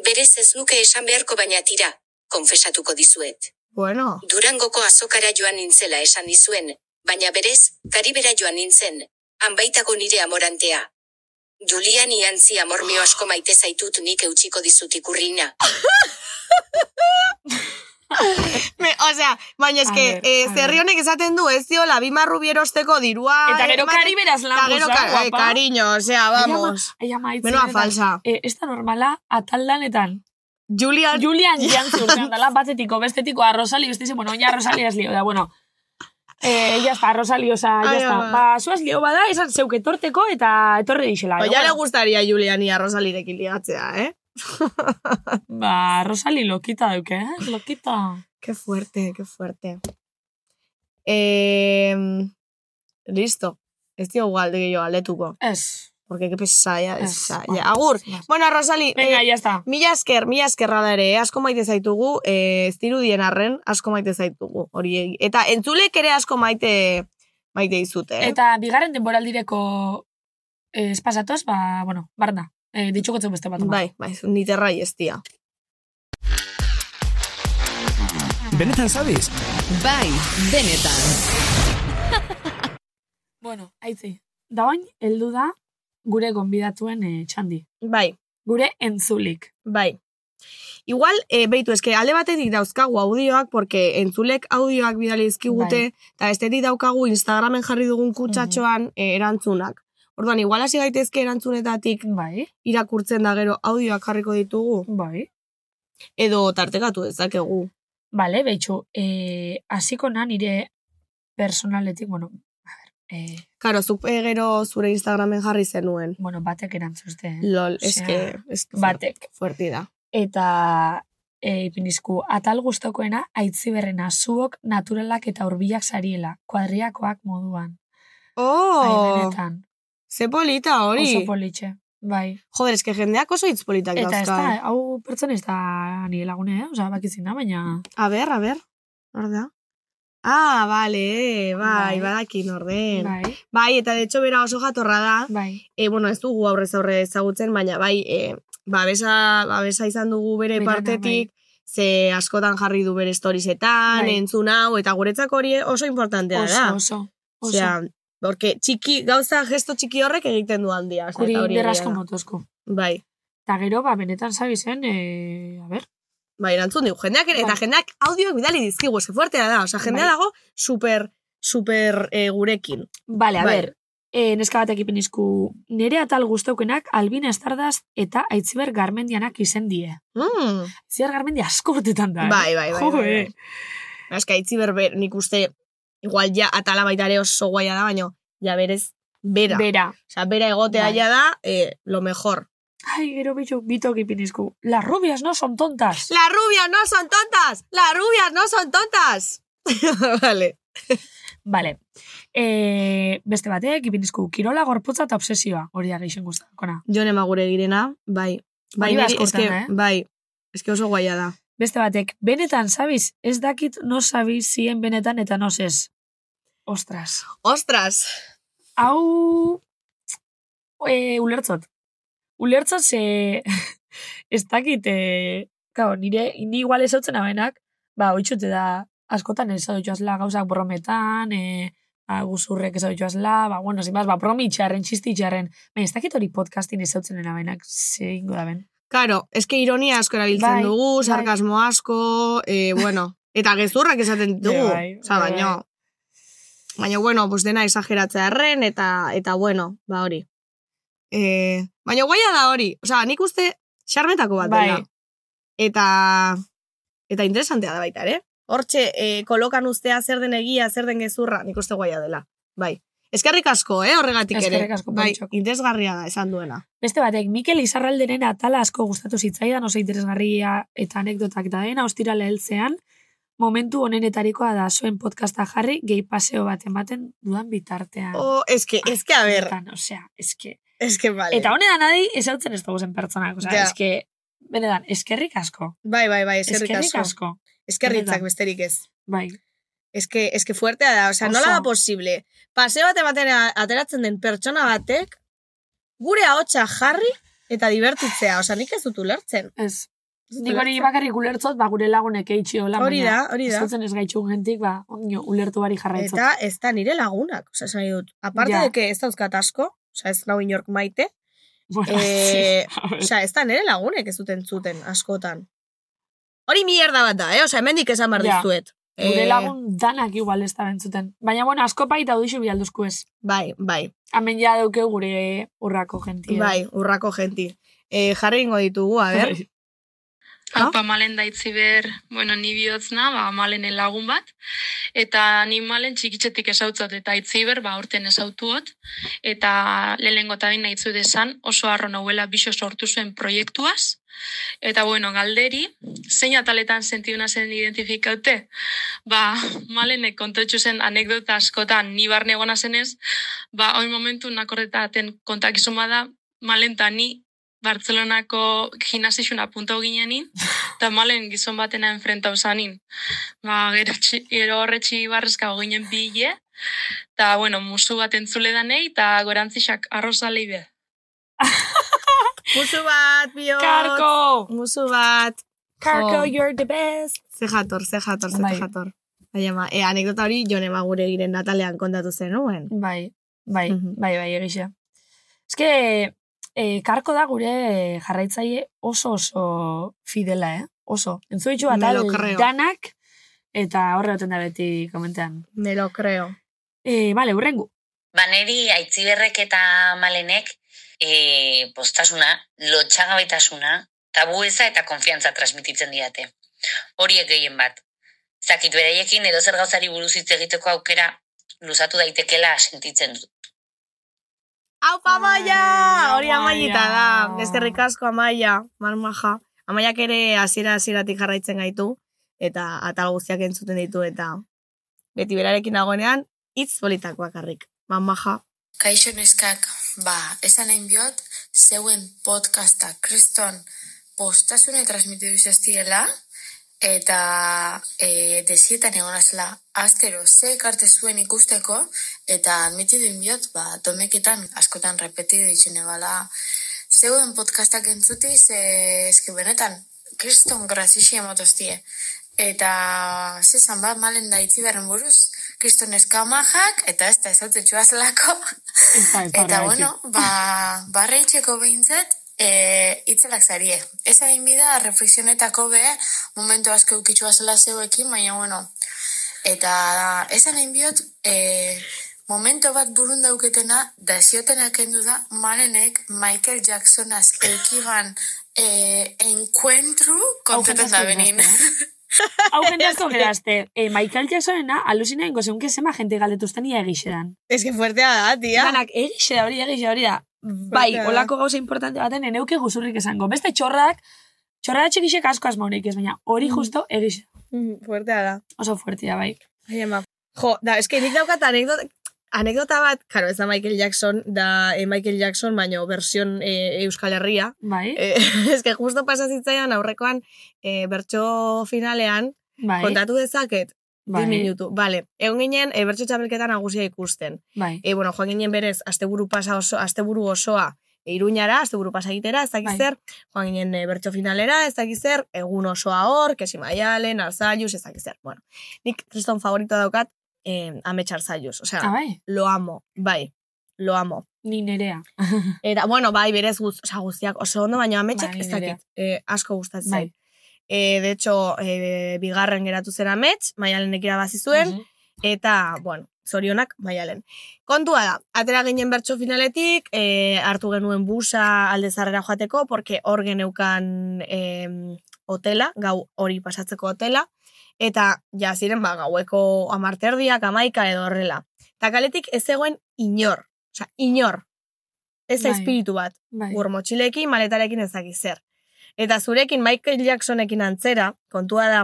I: Berez ez nuke esan beharko baina tira, konfesatuko dizuet.
G: bueno.
I: Durangoko azokara joan nintzela esan dizuen, baina berez, Karibera joan nintzen, han baitago nire amorantea. Julian iantzi amormio asko maite zaitut nik eutxiko dizut ikurrina.
G: Me, osea, baina
B: A
G: eske,
B: ver,
G: eh,
B: a
G: zerri
B: ver.
G: honek esaten du, ez diola, bi marrubierosteko dirua...
B: Eta gero
G: ematen-
B: kari beraz lan
G: Eta gero,
B: goza,
G: ka- eh,
B: guapa.
G: cariño, osea, vamos.
B: Ai, ama, itzen.
G: Menua falsa.
B: E, ez da normala, ataldanetan.
G: Julian,
B: Julian Jantzun, dala batetiko, bestetiko, a Rosali, beste bueno, oina Rosali has lio, da, bueno. Eh, ya está, Rosali, osa, ya
G: Ai,
B: está.
G: ama.
B: Ba, zuaz lio bada, esan zeuke torteko eta etorre dixela.
G: Oia
B: eh,
G: Ba, le
B: bueno.
G: gustaría Juliani a Rosalirekin ligatzea, eh?
B: Ba, Rosali lokita duke, eh? Lokita.
G: Qué fuerte, qué fuerte. Eh, listo. Ez diogu galde gehiago aletuko.
B: Ez.
G: Porque qué pesaia,
B: Ez,
G: pesaia.
B: bueno,
G: Agur.
B: bueno.
G: Ah, Bueno, Rosali,
B: Venga,
G: eh,
B: ya está.
G: mila esker, mila esker hala ere, eh, asko maite zaitugu, eh, ez dirudien arren, asko maite zaitugu. Hori, egi- eta entzulek ere asko maite maite dizute, eh?
B: Eta bigarren denboraldireko eh, espasatoz, ba, bueno, barna. Eh, ditxukotzen beste bat. ama.
G: bai, bai, niterrai ez dia.
A: Benetan zabiz?
F: Bai, benetan.
B: Bueno, aitzi. Da oin, heldu da gure gonbidatuen eh, txandi.
G: Bai,
B: Gure entzulik.
G: Bai. Igual, e, beitu, eske alde batetik dauzkagu audioak, porque entzulek audioak bidali
B: Bai.
G: dizkigute, eta estetik daukagu Instagramen jarri dugun kutsatxoan eh, erantzunak. Orduan, igual hasi gaitezke erantzunetatik
B: Bai,
G: irakurtzen da gero audioak jarriko ditugu,
B: bai.
G: edo tartekatu dezakegu.
B: Bale, behitxu, eh, hasiko na nire personaletik, bueno, a ver, eh,
G: Karo, zuk eh, gero zure Instagramen jarri zenuen.
B: bueno, batek erantzuzte, eh?
G: Lol,
B: Osea,
G: eske, eske
B: batek.
G: fuerti da.
B: Eta e, ipinizku, atal gustokoena aitziberrena, zuok naturalak eta hurbilak sariela, kuadriakoak moduan. Bai,
G: Oh,
B: benetan.
G: ze polita
B: Oso
G: hori. Bai,
B: politxe. Bai.
G: Joder, eske jendeak oso hitz politak
B: Eta ez
G: dauzka. eh?
B: da, eh? hau pertsen ez da nire lagune, eh? Osa, bakizin da, baina...
G: A ber, a ber. Hor da. Ah, bale, bai,
B: Bai.
G: badakin orden. Bai.
B: Bai,
G: eta de hecho bera oso jatorra da.
B: bai.
G: E, bueno, ez dugu aurrez aurre ezagutzen, baina bai, e, babesa, babesa izan dugu bere
B: Berana,
G: partetik, ze askotan jarri du bere storiesetan,
B: Bai.
G: entzun hau, eta guretzak hori oso importantea
B: Oso,
G: da.
B: oso. oso.
G: Osea, porque txiki, gauza gesto txiki horrek egiten du handia. osea,
B: Guri
G: eta hori egia
B: derrasko
G: da.
B: motozko.
G: Bai,
B: Eta gero, ba, benetan zabi zen, e, a ber,
G: bai, erantzun digu. Jendeak ere, eta
B: Bai.
G: jendeak audioak bidali dizkigu, ze fuertea da. Osa, jendea
B: Bai.
G: dago super, super eh, gurekin.
B: Bale, a
G: Bai.
B: ber, e, neska batek ipinizku, nere atal guztaukenak Albina Estardaz eta Aitziber Garmendianak izen die.
G: Mm.
B: Aitziber Garmendia asko urtetan da. eh?
G: Bai, bai, bai.
B: Jo,
G: bai,
B: eh.
G: bai. Eska, itzi berber, nik uste, igual ja, atala baita ere oso guaia da, baino, ja berez, bera.
B: Bera.
G: Osea, bera egotea
B: Bai.
G: ja da, eh, lo mejor.
B: Ai, gero bitu, bitok ipinizku. Las rubias no son tontas.
G: La rubia no son tontas! La rubia no son tontas! vale.
B: Vale. E, beste batek ipinizku, kirola gorputza eta obsesioa. Hori da gehixen guztakona.
G: Jone magure girena, bai. Bai,
B: Hori da
G: niri-
B: askotan,
G: eske,
B: eh?
G: bai. Eske oso guaia da.
B: Beste batek, benetan zabiz, ez dakit no zabiz zien benetan eta no ez. Ostras.
G: Ostras!
B: hau e, ulertzot. Ulertzot ze ez dakit, e, kao, nire, ni igual ez hautzen abenak, ba, oitzute da, askotan ez hau joazla gauzak brometan, e, ba, guzurrek ez hau joazla, ba, bueno, zinbaz, ba, promitxarren, txistitxarren, baina ez dakit hori podcastin ez hautzen abenak, zeingo da ben.
G: Karo, eske ironia asko erabiltzen
B: Bai,
G: dugu,
B: bai.
G: sarkasmo asko, eh, bueno, eta gezurrak esaten dugu.
B: Bai, bai,
G: Osa,
B: bai,
G: baino, baina, bueno, pues dena exageratzea erren, eta, eta bueno, ba hori. Eh, baina guaia da hori, osea, nik uste xarmetako bat
B: Bai.
G: dela. Eta, eta interesantea da baita, ere? Hortxe, eh, kolokan ustea zer den egia, zer den gezurra, nik uste guaia dela. Bai. Eskerrik asko, eh, horregatik ere.
B: Eskerrik asko,
G: bai,
B: Pantxok.
G: interesgarria da, esan duena.
B: Beste batek, Mikel Izarralderen atala asko gustatu zitzaidan, oso interesgarria eta anekdotak da dena, ostirala heltzean, momentu honenetarikoa da zuen podcasta jarri, gehi paseo bat ematen dudan bitartean.
G: Oh, eske, eske, a ber,
B: Benetan, osea, eske.
G: eske, vale.
B: Ah, Eta honetan adi, esautzen ez dugu zen pertsonak, osea,
G: Ja.
B: eske, benetan, eskerrik asko.
G: Bai, bai, bai, eskerrik,
B: Eskerrik,
G: asko.
B: asko.
G: Eskerritzak
B: Benetan.
G: besterik ez.
B: Bai,
G: Eske, eske fuertea da, osea,
B: Oso.
G: nola da posible. Paseo bate baten ateratzen den pertsona batek, gure ahotsa jarri eta divertitzea. Osea, nik ez dut ulertzen.
B: ez.
G: Ez dut
B: Nik hori
G: ulertzen.
B: bakarrik ulertzot, ba, gure lagunek eitxi hola,
G: Hori da, hori da.
B: Esautzen ez gaitxun gentik, ba, ondio, ulertu bari jarraitzot.
G: Eta ez da nire lagunak, osea, esan nahi dut. Aparte
B: Ja.
G: de que ez dauzkat asko, osea, ez nau inork maite,
B: bueno,
G: eh,
B: a ver.
G: osea, ez da nire lagunek ez duten zuten askotan. Hori mierda bat da, eh? Osea, hemendik esan behar
B: Ja.
G: dizuet.
B: Gure
G: Eh,
B: lagun danak igual ez da bentzuten. Baina, bueno, asko baita audixu bihalduzku ez.
G: Bai, bai.
B: Hemen ja dauke gure urrako gentia.
G: Bai, urrako genti. Eh, jarri ingo ditugu, a ber.
B: Bai.
G: Ah?
J: Haupa malen daitzi ber, bueno, ni bihotzna, ba, malenen lagun bat, eta ni malen txikitzetik esautzot, eta itzi ber, ba, orten esautuot, eta lehenengo eta bain nahitzu desan, oso arro nauela biso sortu zuen proiektuaz, eta bueno, galderi, zein ataletan sentiuna zen identifikaute? Ba, malenek kontotxu zen anekdota askotan, ni barne egona zenez, ba, oin momentu nakorretaten kontakizuma da, malen ta ni Bartzelonako gimnasixun apuntau ginenin, eta malen gizon batena enfrentau zanin. Ba, gero, txi- gero horretxi barrezka ginen bile, eta, bueno, musu bat entzule danei, eta gorantzixak arrozalei be.
G: Musu bat, bio.
B: Karko! Oh.
G: Musu bat.
B: Karko,
G: Jo.
B: you're the best!
G: Ze jator, ze jator, ze
B: Bai.
G: jator. Bai, ama, e, anekdota hori jone magure giren natalean kontatu zen, nuen?
B: Bai, bai,
G: Mhm.
B: bai, bai, egisa. Ez que, eh, karko da gure jarraitzaile oso oso fidela, eh? Oso. Entzu ditu
G: Me
B: atal
G: lo creo.
B: danak, eta horre oten da beti komentean.
G: Me lo creo.
B: Eh, vale, urrengu.
K: Baneri aitziberrek eta malenek e, postasuna, lotxagabaitasuna, tabueza eta konfiantza transmititzen didate. Horiek gehien bat. Zakit beraiekin edo zer gauzari buruz hitz egiteko aukera luzatu daitekela sentitzen dut.
G: Hau,
B: Ai,
G: amaia! Hori
B: amaia.
G: amaita da. Ezkerrik asko, amaia. Marmaja. Amaiak ere hasiera hasieratik jarraitzen gaitu. Eta atal guztiak entzuten ditu eta beti berarekin dagoenean, hitz bolitakoak harrik. mamaja.
L: Kaixo neskak, ba, esan hain biot, zeuen podcasta kriston postasune transmitidu izaztiela, eta e, desietan egon azela, astero ze ekarte zuen ikusteko, eta admitidu inbiot, ba, domeketan askotan repetidu itxene bala, zeuen podcastak entzutiz, e, eski benetan, kriston grazixi emotoztie. Eta zezan bat malen da itzi berren buruz, kriston eskamajak, eta ez da ezautze txuazlako.
B: Eta,
L: eta bueno, ba, barre itxeko behintzat, e, itzelak zarie. Ez hain bida, reflexionetako be, momentu asko ukitxua zela zeuekin, baina bueno. Eta ez hain biot, e, momento bat burun dauketena, da ziotenak kendu da, malenek Michael Jacksonaz eukiban e, enkuentru kontetan da benin.
B: Hau jende asko gerazte. Eh, Michael Jacksonena alusina ingo zeunke zema jente galetuzten ia egixeran.
G: Ez que fuertea da, tia.
B: Danak, egixe da hori, egixe hori da. Bai,
G: Fuertea da.
B: olako gauza importante baten eneuke guzurrik esango. Beste txorrak, txorra txikixek asko asmaurik ez, baina hori justo egixe.
G: Mm, Fuertea da.
B: Oso fuertia, bai.
G: Ai, ama. Jo, da, eske nik daukat anekdota, anekdota bat, karo, ez da Michael Jackson, da eh, Michael Jackson, baino version eh, Euskal Herria.
B: Bai,
G: Eh, eske justo pasazitzaian aurrekoan eh, bertso finalean,
B: bai,
G: kontatu dezaket,
B: bai,
G: 10 minutu. Vale, egon ginen e, bertso txapelketa nagusia ikusten.
B: bai,
G: E, bueno, joan ginen berez, asteburu pasa oso, asteburu osoa, e, Iruñara, asteburu pasa egitera, ez dakiz
B: Bai.
G: zer, joan ginen e, bertso finalera, ez dakiz zer, egun osoa hor, kesi maialen, arzaius, ez dakiz zer. Bueno, nik kriston favorito daukat, eh, amets arzaius, osea,
B: Ah, bai,
G: lo amo, bai, lo amo.
B: ni nerea.
G: Eta, bueno, bai, berez guz, osea, guztiak oso ondo, baina ametsak
B: Bai,
G: ez
B: nirea.
G: dakit, eh, asko gustatzen
B: Bai.
G: zait. Eh, de hecho, eh, bigarren geratu zen amets, maialenek irabazi zuen,
B: Mhm.
G: Eta, bueno, zorionak maialen. Kontua da, atera ginen bertso finaletik, eh, hartu genuen busa alde zarrera joateko, porque hor geneukan em, hotela, gau hori pasatzeko hotela, eta ja ziren ba, gaueko amarterdiak, amaika edo horrela. Eta kaletik ez zegoen inor, osea, inor. Ez da
B: Bai.
G: espiritu bat,
B: Bai,
G: gur motxilekin, maletarekin ezaki zer. Eta zurekin Michael Jacksonekin antzera, kontua da,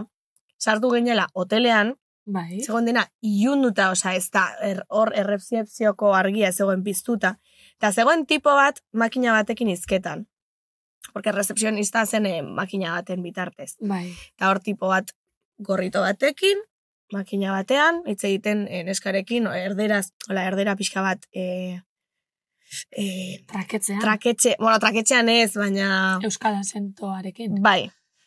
G: sartu ginela hotelean,
B: bai,
G: Zegoen dena, iunduta, osa, ez da, er- hor errepziepzioko argia ez zegoen piztuta. Eta zegoen tipo bat makina batekin izketan. Porque recepcionista zen eh, makina baten bitartez.
B: bai,
G: Eta hor tipo bat gorrito batekin, makina batean, hitz egiten eh, neskarekin, erderaz, hola, erdera pixka bat, eh, eh,
B: traketzean.
G: traketxe, bueno, traketxean ez, baina...
B: Euskal azentoarekin.
G: Bai.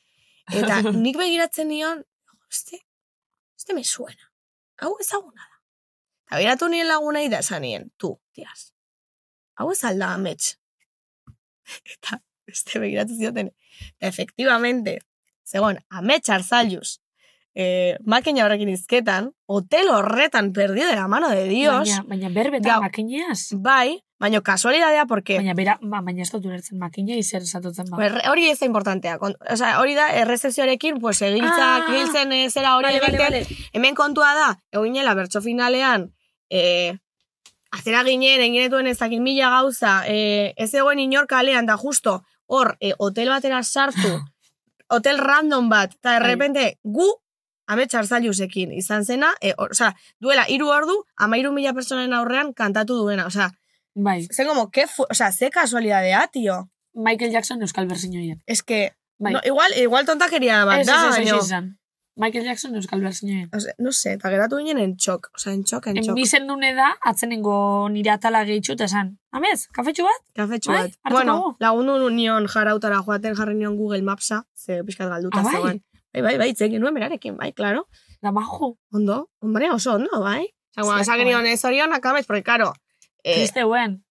G: Eta nik begiratzen nion, este, este me suena. Hau ezaguna da. Eta begiratu nien laguna da esan nien, tu, tiaz. Hau ez alda amets. Eta beste begiratu zioten. Eta efektibamente, zegoen, amets arzaluz, eh, makina horrekin izketan, hotel horretan perdido de la mano de Dios,
B: Baina, baina berbetan
G: Gau.
B: makineaz.
G: bai, baino kasualidadea, porque...
B: Baina, bera, ba, baina ez dut ulertzen makina izer esatotzen ba.
G: Erre- Hori ez da importantea. Kon- Osea, hori da, errezezioarekin, pues, egiltzak,
B: Ah!
G: giltzen, eh, zera hori
B: Vale, vale,
G: egiten. Hemen kontua da, eginela bertso finalean, eh, azera ginen, eginetuen ez dakit mila gauza, eh, ez egoen inor kalean, da justo, hor, eh, hotel batera sartu, hotel random bat, eta errepente, gu, amets arzailusekin, izan zena, eh, hor- osea, duela, hiru ordu, amairu mila personen aurrean kantatu duena, osea,
B: Bai,
G: zen como, que, fu- osea, ze kasualidadea, tio.
B: Michael Jackson euskal berzinoiak.
G: Es que,
B: Bai.
G: No, igual, igual tontakeria bat
B: ez, ez,
G: da,
B: ez, ez,
G: baino-
B: izan. Michael Jackson euskal berzinoiak.
G: Ose, no sé, eta geratu ginen en txok, osea, en txok, en txok.
B: Bizen nune da, atzenengo nire atala gehitxu eta esan. Amez, kafetxu bat?
G: Kafetxo
B: Bai,
G: bat.
B: hartuko
G: Bueno,
B: dugu.
G: lagundu nion jarautara joaten jarri nion Google Mapsa, ze pixkat galduta
B: Ah, bai?
G: zegoen. Bai, bai, bai, itzen genuen berarekin, bai, klaro.
B: Da majo.
G: Ondo, hombre, oso ondo, bai. Osea, bueno,
B: Zelako,
G: esan genion eh, ez hori honak amets, porque, karo, eh,
B: Triste guen.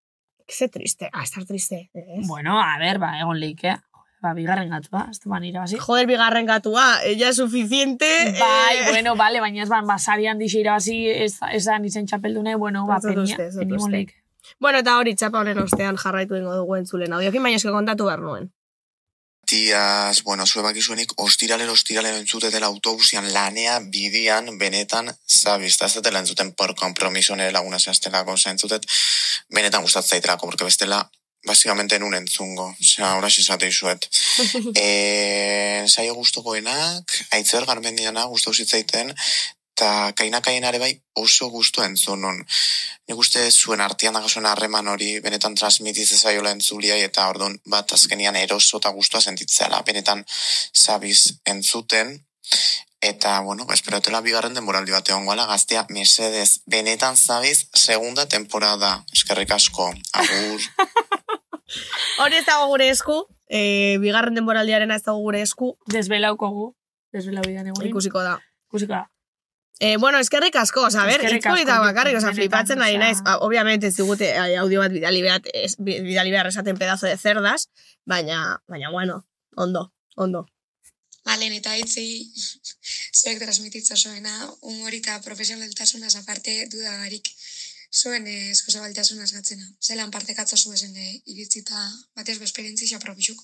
G: ze triste, ah, estar triste. ez?
B: Bueno, a ber, ba, egon leike. Ba, bigarren gatua, ez da ban irabazi.
G: Joder, bigarren gatua, ella es suficiente.
B: Bai,
G: eh,
B: bueno, bale, baina ez ban, ba, basarian dixe irabazi, ez, ez da nizen txapeldune, bueno, ba,
G: Ez dut
B: penia,
G: uste, ez dut
B: penimo
G: uste.
B: leike.
G: Bueno, eta hori txapa honen ostean jarraitu ingo dugu entzulen audiokin, baina eske kontatu behar nuen.
M: Tiaz, bueno, zue bakizuenik, ostiralero ostiralero entzutetela autobusian lanea, bidian, benetan, zabiz, eta ez dutela entzuten por kompromiso nire laguna zehaztelako, osea, entzutet, benetan gustatzen zaitelako, porque bestela, basikamente nun entzungo, osea, horaxe esate izuet. Eh, e, saio gustokoenak, aitzer garmendiana gustau zitzaiten, eta kainakaien are bai oso gustu entzunun. Nik uste zuen artean dagazuen harreman hori benetan transmitiz ezaiola entzuliai eta orduan bat azkenian eroso eta guztua sentitzela benetan zabiz entzuten eta bueno, esperatela bigarren denboraldi bat egon gala gaztea mesedez benetan zabiz segunda temporada eskerrik asko, agur
G: Hori ez dago gure esku, e, bigarren denboraldiaren ez dago gure esku.
B: Desbelauko gu, desbelau bidan egun.
G: Ikusiko da.
B: Ikusiko da.
G: Eh, bueno, eskerrik asko, oza, ber,
B: Eskerrik asko,
G: itzpolita bakarrik, oza,
B: benetan,
G: flipatzen ari
B: osea.
G: naiz, Ba, obviamente ez digute eh, audio bat bidali behar, ez, bi- bidali behar esaten pedazo de cerdas, baina, baina, bueno, ondo, ondo.
N: Malen eta itzei, zuek transmititza zoena, humorita profesionaltasunaz aparte dudagarik zuen eh, eskozabaltasunaz gatzena. Zelan partekatza zuezen eh, iritzita batez besperientzia probixuk.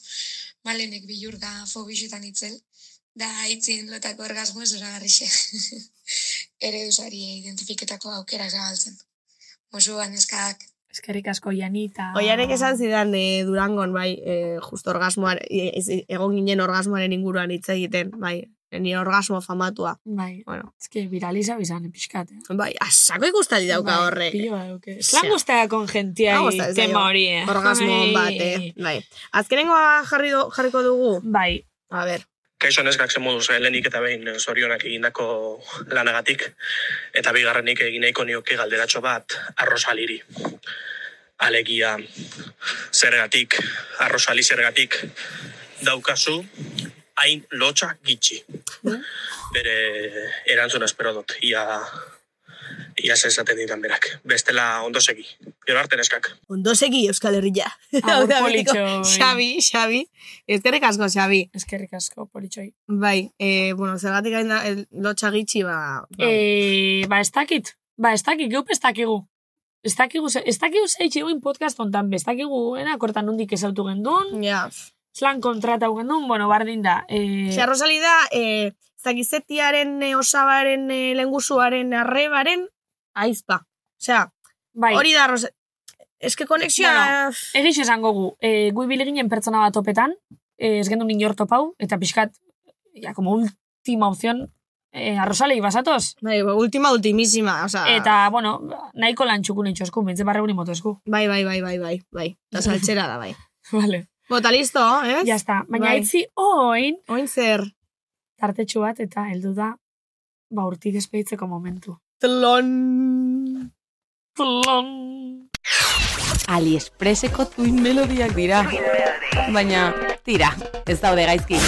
N: Malenek bilur da fobixetan itzel, da itzin lotako orgasmo zoragarrixe. Ere duzari identifiketako aukera zabaltzen. Mosuan eskak.
B: Eskerrik asko janita.
G: Oianek esan zidan eh, Durangon, bai, eh, justo orgasmoaren, e- ez- egon ginen orgasmoaren inguruan hitz egiten, bai, ni orgasmo famatua.
B: Bai,
G: bueno.
B: ez que viraliza bizan, pixkat. Eh?
G: Bai, asako ikustaldi dauka
B: Bai,
G: horrek.
B: pilo badauke.
G: Osea.
B: Zelan guztia kon gentia
G: Hau gustatzen zaio.
B: tema hori, eh?
G: Orgasmo on bat, eh? Bai. Azkenengoa jarri do, jarriko dugu?
B: Bai.
G: A ber.
O: Kaixo neskak zen moduz, eh, lehenik eta behin eh, zorionak egindako lanagatik, eta bigarrenik egin nahiko nioke galderatxo bat arrosaliri. Alegia, zergatik, arrosali zergatik, daukazu, hain lotxa gitxi. Bere erantzuna espero dut, ia, ia zezaten ditan berak. Bestela ondo segi, gero arte neskak.
G: Ondo segi Euskal Herria.
O: Agur,
G: Hau da betiko,
O: politxoi.
G: Xabi, Xabi. Ezkerrik asko, Xabi.
B: Ezkerrik eh. asko, politxoi.
G: Bai, eh, bueno, zergatik hain da, el- lotxa gitxi, ba... ba.
B: Eh, ba, ez dakit. Ba, ez dakit, geup ez dakigu. Ez dakigu, ze- ez dakigu zeitxe eguin podcast ontan, be, ez dakigu, eh, ena, kortan hundik ezautu gendun.
G: Ja.
B: Zlan kontratau gendun, bueno, bardin da. Eh,
G: Osea, Rosali da, eh, zakizetiaren, eh, osabaren, eh, lengusuaren, arrebaren, aizpa. Osea,
B: Bai.
G: hori da, Rosa... Eske konexioa...
B: Bueno, egixo esango gu, e, gu ibili ginen pertsona bat topetan, e, ez gendu inor topau, eta pixkat, ja, como última opción, e, arrosalei basatoz.
G: Bai, última, ultimísima, osea...
B: Eta, bueno, nahiko lan txukun itxosku, bentze barre guri motosku.
G: Bai, bai, bai, bai, bai, bai. Eta saltxera da, bai.
B: vale.
G: Bota, listo, ez?
B: Ja está. Baina
G: Bai.
B: itzi, oin...
G: Oin zer.
B: Tartetxu bat, eta heldu da, ba, urtik despeditzeko momentu.
G: Tlon.
B: Tlon.
F: Aliexpreseko tuin melodiak dira. Baina, tira, ez daude gaizki.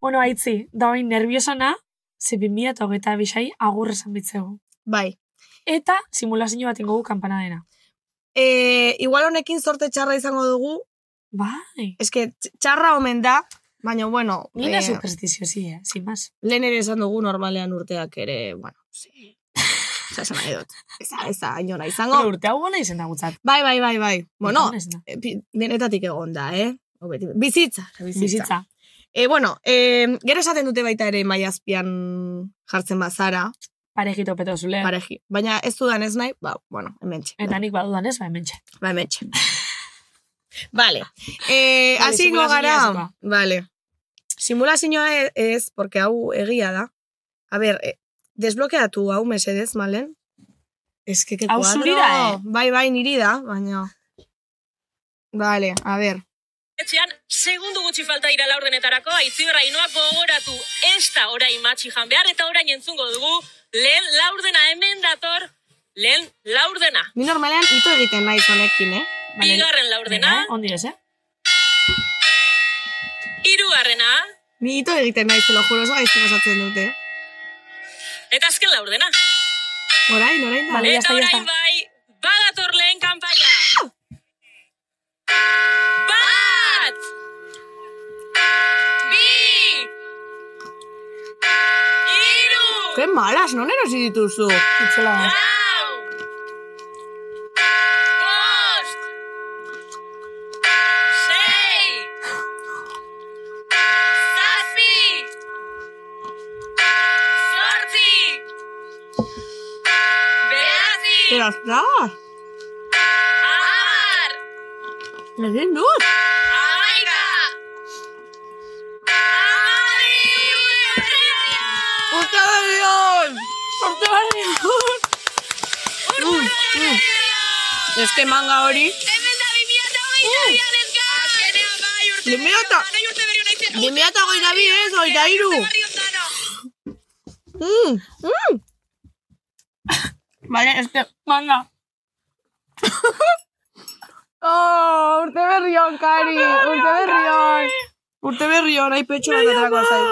B: Bueno, aitzi, da oin nerviosona, ze 2000 eta hogeita bisai agur esan bitzegu.
G: Bai.
B: Eta simulazio bat ingo gu kanpanadena.
G: E, igual honekin sorte txarra izango dugu.
B: Bai.
G: Eske tx- txarra omen da, baina bueno...
B: Ni na superstizio, si, eh? Sin más.
G: Lehen ere esan dugu normalean urteak ere, bueno, sí. Osa, esan nahi dut. Ez da, ez da, inona izango.
B: Pero urte hau gona izan da gutzat.
G: Bai, bai, bai, bai. Bueno,
B: Gona izan da.
G: eh, pi- denetatik egon da, eh? Hau beti- Bizitza. Bizitza.
B: Bizitza.
G: E, bueno, e, gero esaten dute baita ere maiazpian jartzen bazara.
B: Parejito peto zule.
G: Pareji. Baina ez dudan ez nahi, ba, bueno, hemen
B: Eh. Eta nik badudan ez, ba, hementxe.
G: Ba, hementxe. Vale. Eh,
B: Vale,
G: así ingo
B: simulazioa
G: gara.
B: hasiko.
G: Vale. Simulazioa e- ez, porque hau egia da. A ber, eh, desblokeatu hau mesedez, malen? Ez que
B: Hau zuri da, eh?
G: Bai, bai, niri da, baina... Vale, a ber.
P: Etxean, segundu gutxi falta dira laurdenetarako, aizibera inoak gogoratu ez da orain matxi jan behar, eta orain entzungo dugu, lehen laurdena hemen dator, lehen laurdena.
G: Ni normalean ito egiten naiz honekin, eh?
P: Bigarren laurdena,
B: Ondi ez, eh?
P: hirugarrena,
G: Ni ito egiten naiz, te lo juro, oso gaizki pasatzen dute.
P: eta azken laurdena.
G: Orain, orain da.
P: eta orain bai, badator lehen kanpaia. Bat! Bi! Hiru!
G: Ke malas, non erosi dituzu? Itzela
P: Lau! Bost! Sei! Zazpi! Zortzi! Bederatzi!
G: Pero trabas.
P: Amar!
G: Ezin dut.
P: Hamaika! Hamabi!
G: Usta berion!
B: behar digun.
G: Eske manga hori, limea eta... Limea eta goita bi ez, goita iru. Mm, mm. Bale, eske...
B: Manga.
G: Oh, urte berrion, Kari, urte berrion. Urte berrion, nahi petxo bat atrako zai.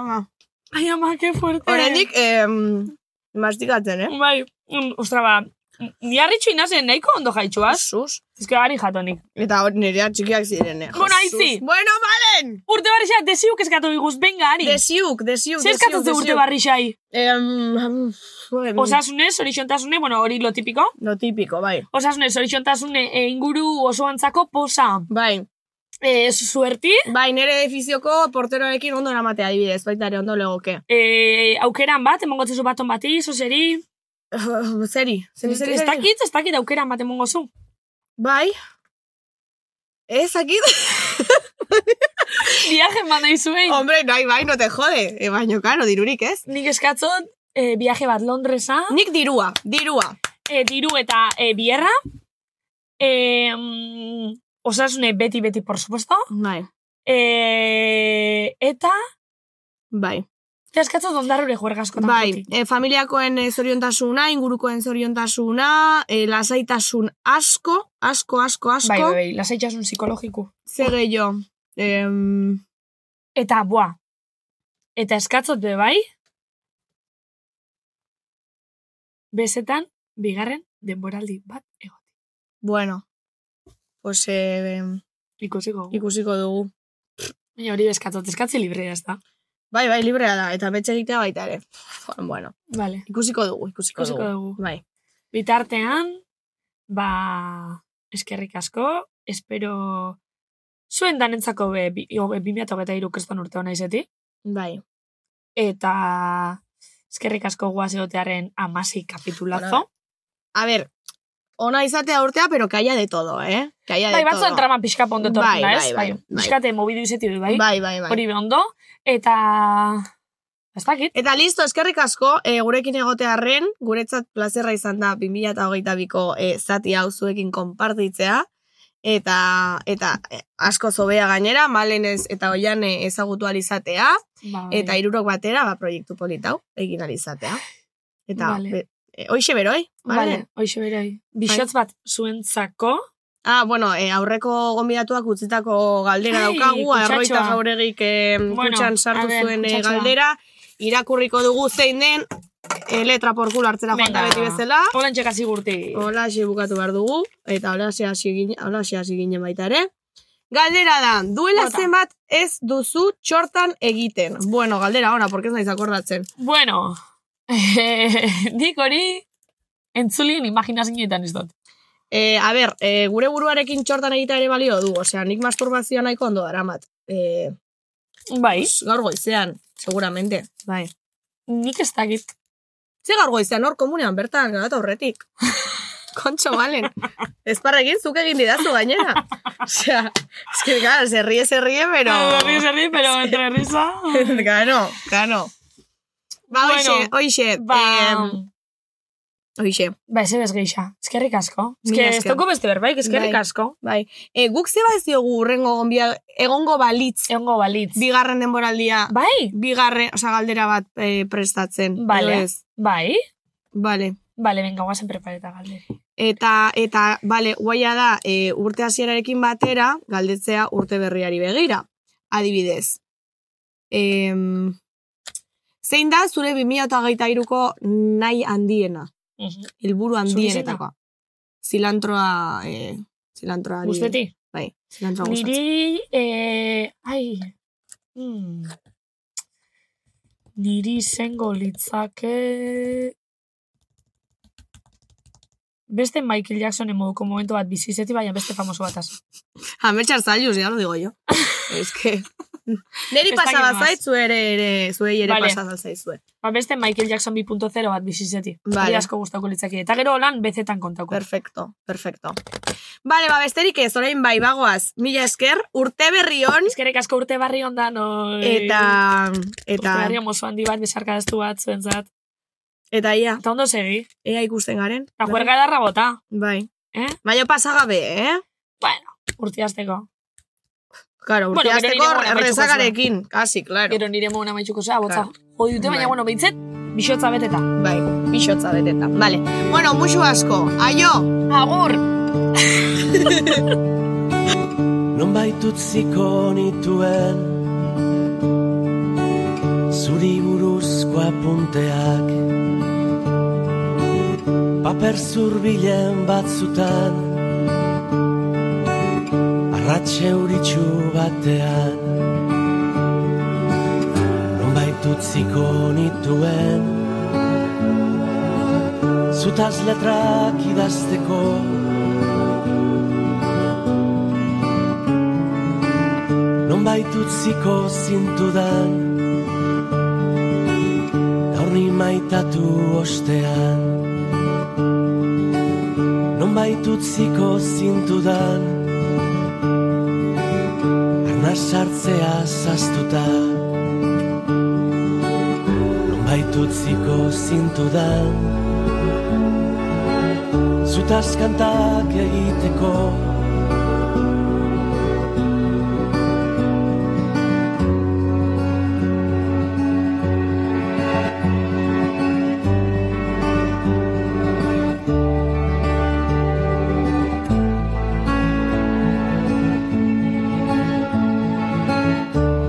G: Ama.
B: Eh. Ai, ama, que fuerte.
G: Oraindik, em, mastikatzen, eh?
B: Bai, mm, ostra, ba, ni harritxu inazen nahiko ondo jaitxuaz.
G: Sus.
B: Ez que gari jatonik.
G: Eta hori nirea txikiak ziren, eh?
B: Bueno, aizi.
G: Bueno, balen!
B: Urte barrixa, desiuk eskatu diguz, benga, ari.
G: Desiuk, desiuk,
B: Zer eskatzen
G: desiuk,
B: ze urte
G: desiuk. Mm.
B: barrixai?
G: Em, em,
B: Osasunez, horizontasune, bueno, hori lo tipiko.
G: Lo tipiko, bai.
B: Osasunez, horizontasune, e, inguru osoantzako posa.
G: Bai.
B: E, suerti,
G: Bai, nire edifizioko porteroekin ondo eramatea adibidez, baita ere ondo legoke.
B: e, aukeran bat, emongo zezu baton bati, zozeri.
G: Zeri, zeri, zeri,
B: Ez
G: zeri.
B: dakit, ez dakit aukeran bat emongo zu.
G: Bai. Ez dakit.
B: Viaje manda izuein.
G: Hombre, nahi bai, no te jode. E, baino, karo, dirurik ez.
B: Nik eskatzot, e, viaje bat Londresa,
G: Nik dirua, dirua.
B: e, diru eta e, bierra. E, mm, osasune beti, beti, por supuesto.
G: Bai,
B: E, eta,
G: bai.
B: te eskatzot ondarrure juergaskotan.
G: Bai, e, familiakoen e, zoriontasuna, ingurukoen zoriontasuna, e, lasaitasun asko, asko, asko, asko.
B: Bai, bai, bai, lasaitasun psikologiko.
G: Zer gehiago. Em,
B: Eta, boa, eta eskatzot be bai, bezetan, bigarren, denboraldi bat, egon.
G: bueno, pues eh, em,
B: Ikusiko.
G: ikusiko dugu.
B: Baina hori eskatzot, eskatzi librea ez da.
G: Bai, bai, librea da, eta betxe egitea baita ere. Bueno,
B: Vale.
G: ikusiko dugu, ikusiko,
B: Ikusiko dugu.
G: Bai.
B: Bitartean, ba, eskerrik asko, espero zuen danentzako be, bi- hoge- 2023 kreston urte hona izeti.
G: Bai.
B: Eta eskerrik asko guaz egotearen amasi kapitulazo.
G: Bueno, A ber, ona izatea urtea, pero kaia de todo, eh? Kaia
B: bai,
G: de todo.
B: batzuen trama pixka pondo
G: Bai,
B: tortuna,
G: bai,
B: ez?
G: bai, bai.
B: Pixkate mobidu izeti du, bai?
G: Bai, bai, bai.
B: Hori be ondo. Eta... Ez dakit.
G: Eta listo, eskerrik asko, e, gurekin egotearren, guretzat plazerra izan da 2008ko e, zati hau zuekin konpartitzea, eta, eta e, asko zobea gainera, malenez eta oian eh, ezagutu alizatea,
B: Bai.
G: eta irurok batera, ba, proiektu politau, egin alizatea. Eta,
B: Vale.
G: be, e, hoixe beroi,
B: Vale,
G: vale? Bai.
B: hoxe beroi. Bixotz bat zuentzako.
G: Ah, bueno, e, aurreko gonbidatuak utzitako galdera
B: Ai,
G: daukagu,
B: kutsatxoa.
G: arroita jauregik eh,
B: Bueno,
G: kutxan sartu
B: a ver,
G: zuen eh,
B: kutsatxoa.
G: galdera, irakurriko dugu zein den eh, letra porkul hartzera joan da beti bezala.
B: Holan txekasi gurti.
G: Hola, bukatu behar dugu, eta hola, hasi gine- holaxe hasi ginen baita ere. Galdera da, duela
B: Bota.
G: zenbat ez duzu txortan egiten. Bueno, galdera ona, porque ez naiz akordatzen.
B: Bueno, nik hori entzulien imaginazioetan ez dut.
G: E, a ber, e, gure buruarekin txortan egita ere balio du, osea, nik masturbazioa nahiko ondo daramat. E,
B: Bai,
G: pues, gaur goizean, seguramente. Bai.
B: nik ez dakit.
G: Ze gaur goizean hor komunean bertan gara horretik. Kontxo balen. Ez parrekin zuk egin didazu gainera. Osea, es que claro, se ríe, se ríe, pero...
B: Eh, Herri ez herri, pero entre risa.
G: Gano, gano. Ba,
B: Bueno,
G: oixe, oixe.
B: Ba,
G: em, oixe.
B: ba ez ebez geixa. Eskerrik asko.
G: Mila
B: Eske, ez
G: esker.
B: doko beste berbaik, eskerrik
G: Bai.
B: asko.
G: Bai. E, guk zeba ez diogu urrengo gonbia, egongo balitz,
B: Egongo balitz.
G: bigarren denboraldia,
B: Bai,
G: bigarren, osea, galdera bat eh, prestatzen.
B: Bale.
G: edo ez?
B: bai.
G: Bale.
B: Bale, venga, guazen prepareta galderi.
G: Eta, eta, bale, guaia da, e, urte hasierarekin batera, galdetzea urte berriari begira. Adibidez. Em, zein da zure 2008ko nahi handiena?
B: Mhm.
G: Helburu handienetakoa. Zilantroa, e, zilantroa.
B: Guztetik.
G: Bai, zilantroa gustatzen.
B: Niri, eh, ai, hmm. niri izango litzake... Beste Michael Jacksonen moduko momentu bat bizizeti, baina beste famoso bat az.
G: Ametxar zailuz, ya lo digo yo. es que... Neri
B: Ez dakit
G: pasaba
B: noaz.
G: zait, ere, ere, zuei ere
B: Bale.
G: pasaba zaizue.
B: Ba, beste Michael Jackson 2.0 bat bizizeti.
G: Vale.
B: Hori asko gustako litzake. Eta gero lan bezetan kontako.
G: Perfecto, perfecto. Vale, ba, besterik ez, orain bai, bagoaz, mila esker, urte berri hon,
B: Eskerrik asko urte barri ondan, oi.
G: eta,
B: Urte
G: eta,
B: barri oso handi bat, besarkadaztu bat, zuentzat.
G: Eta ia.
B: Eta ondo segi.
G: Ea ikusten garen.
B: Eta juerga edarra bota.
G: Bai.
B: Eh?
G: Baina pasagabe, eh?
B: Bueno, urtiazteko.
G: Claro, urte
B: Bueno, gero nire
G: azteko
B: mugara amaituko zuen.
G: rezagarekin, kasi, claro.
B: Gero nire mogun amaitxuko zea, botza.
G: Claro.
B: Jo dute,
G: Bai.
B: baina, bueno, behintzet, bisotza beteta.
G: Bai, bisotza beteta. Vale. Bueno, musu asko. Aio!
B: Agur!
Q: non baitutziko nituen zuri buruzko apunteak paper zurbilen batzutan arratxe euritxu batean non baitutziko nituen zutaz letrak idazteko Nonbait utziko zintudan Gaur ni maitatu ostean Nonbait utziko zintudan Arna sartzea zaztuta Nonbait utziko zintudan Zutaz kantak egiteko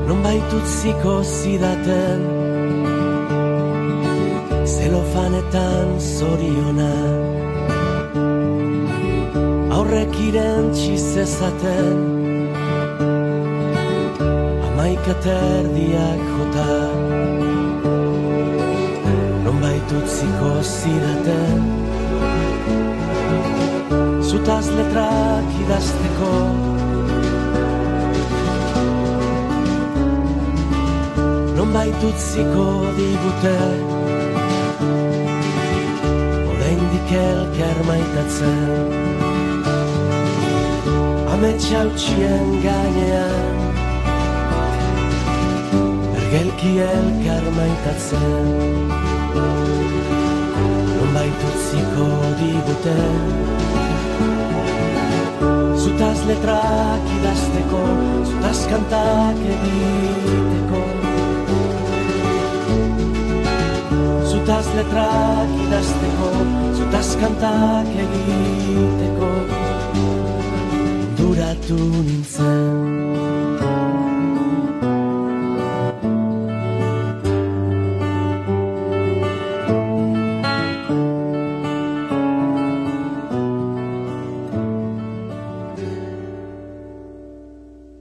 Q: nonbait utziko zidaten zelofanetan zoriona aurrek irentsi zezaten amaikaterdiak jota nonbait utziko zidaten zutaz letrak idazteko nonbait utziko digute oraindik elkar maitatzen ametxautsien gainean ergelki elkar maitatzen nonbait utziko digute zutaz letrak idazteko zutaz kantak egiteko zutaz letrak idazteko, zutaz kantak egiteko, duratu nintzen.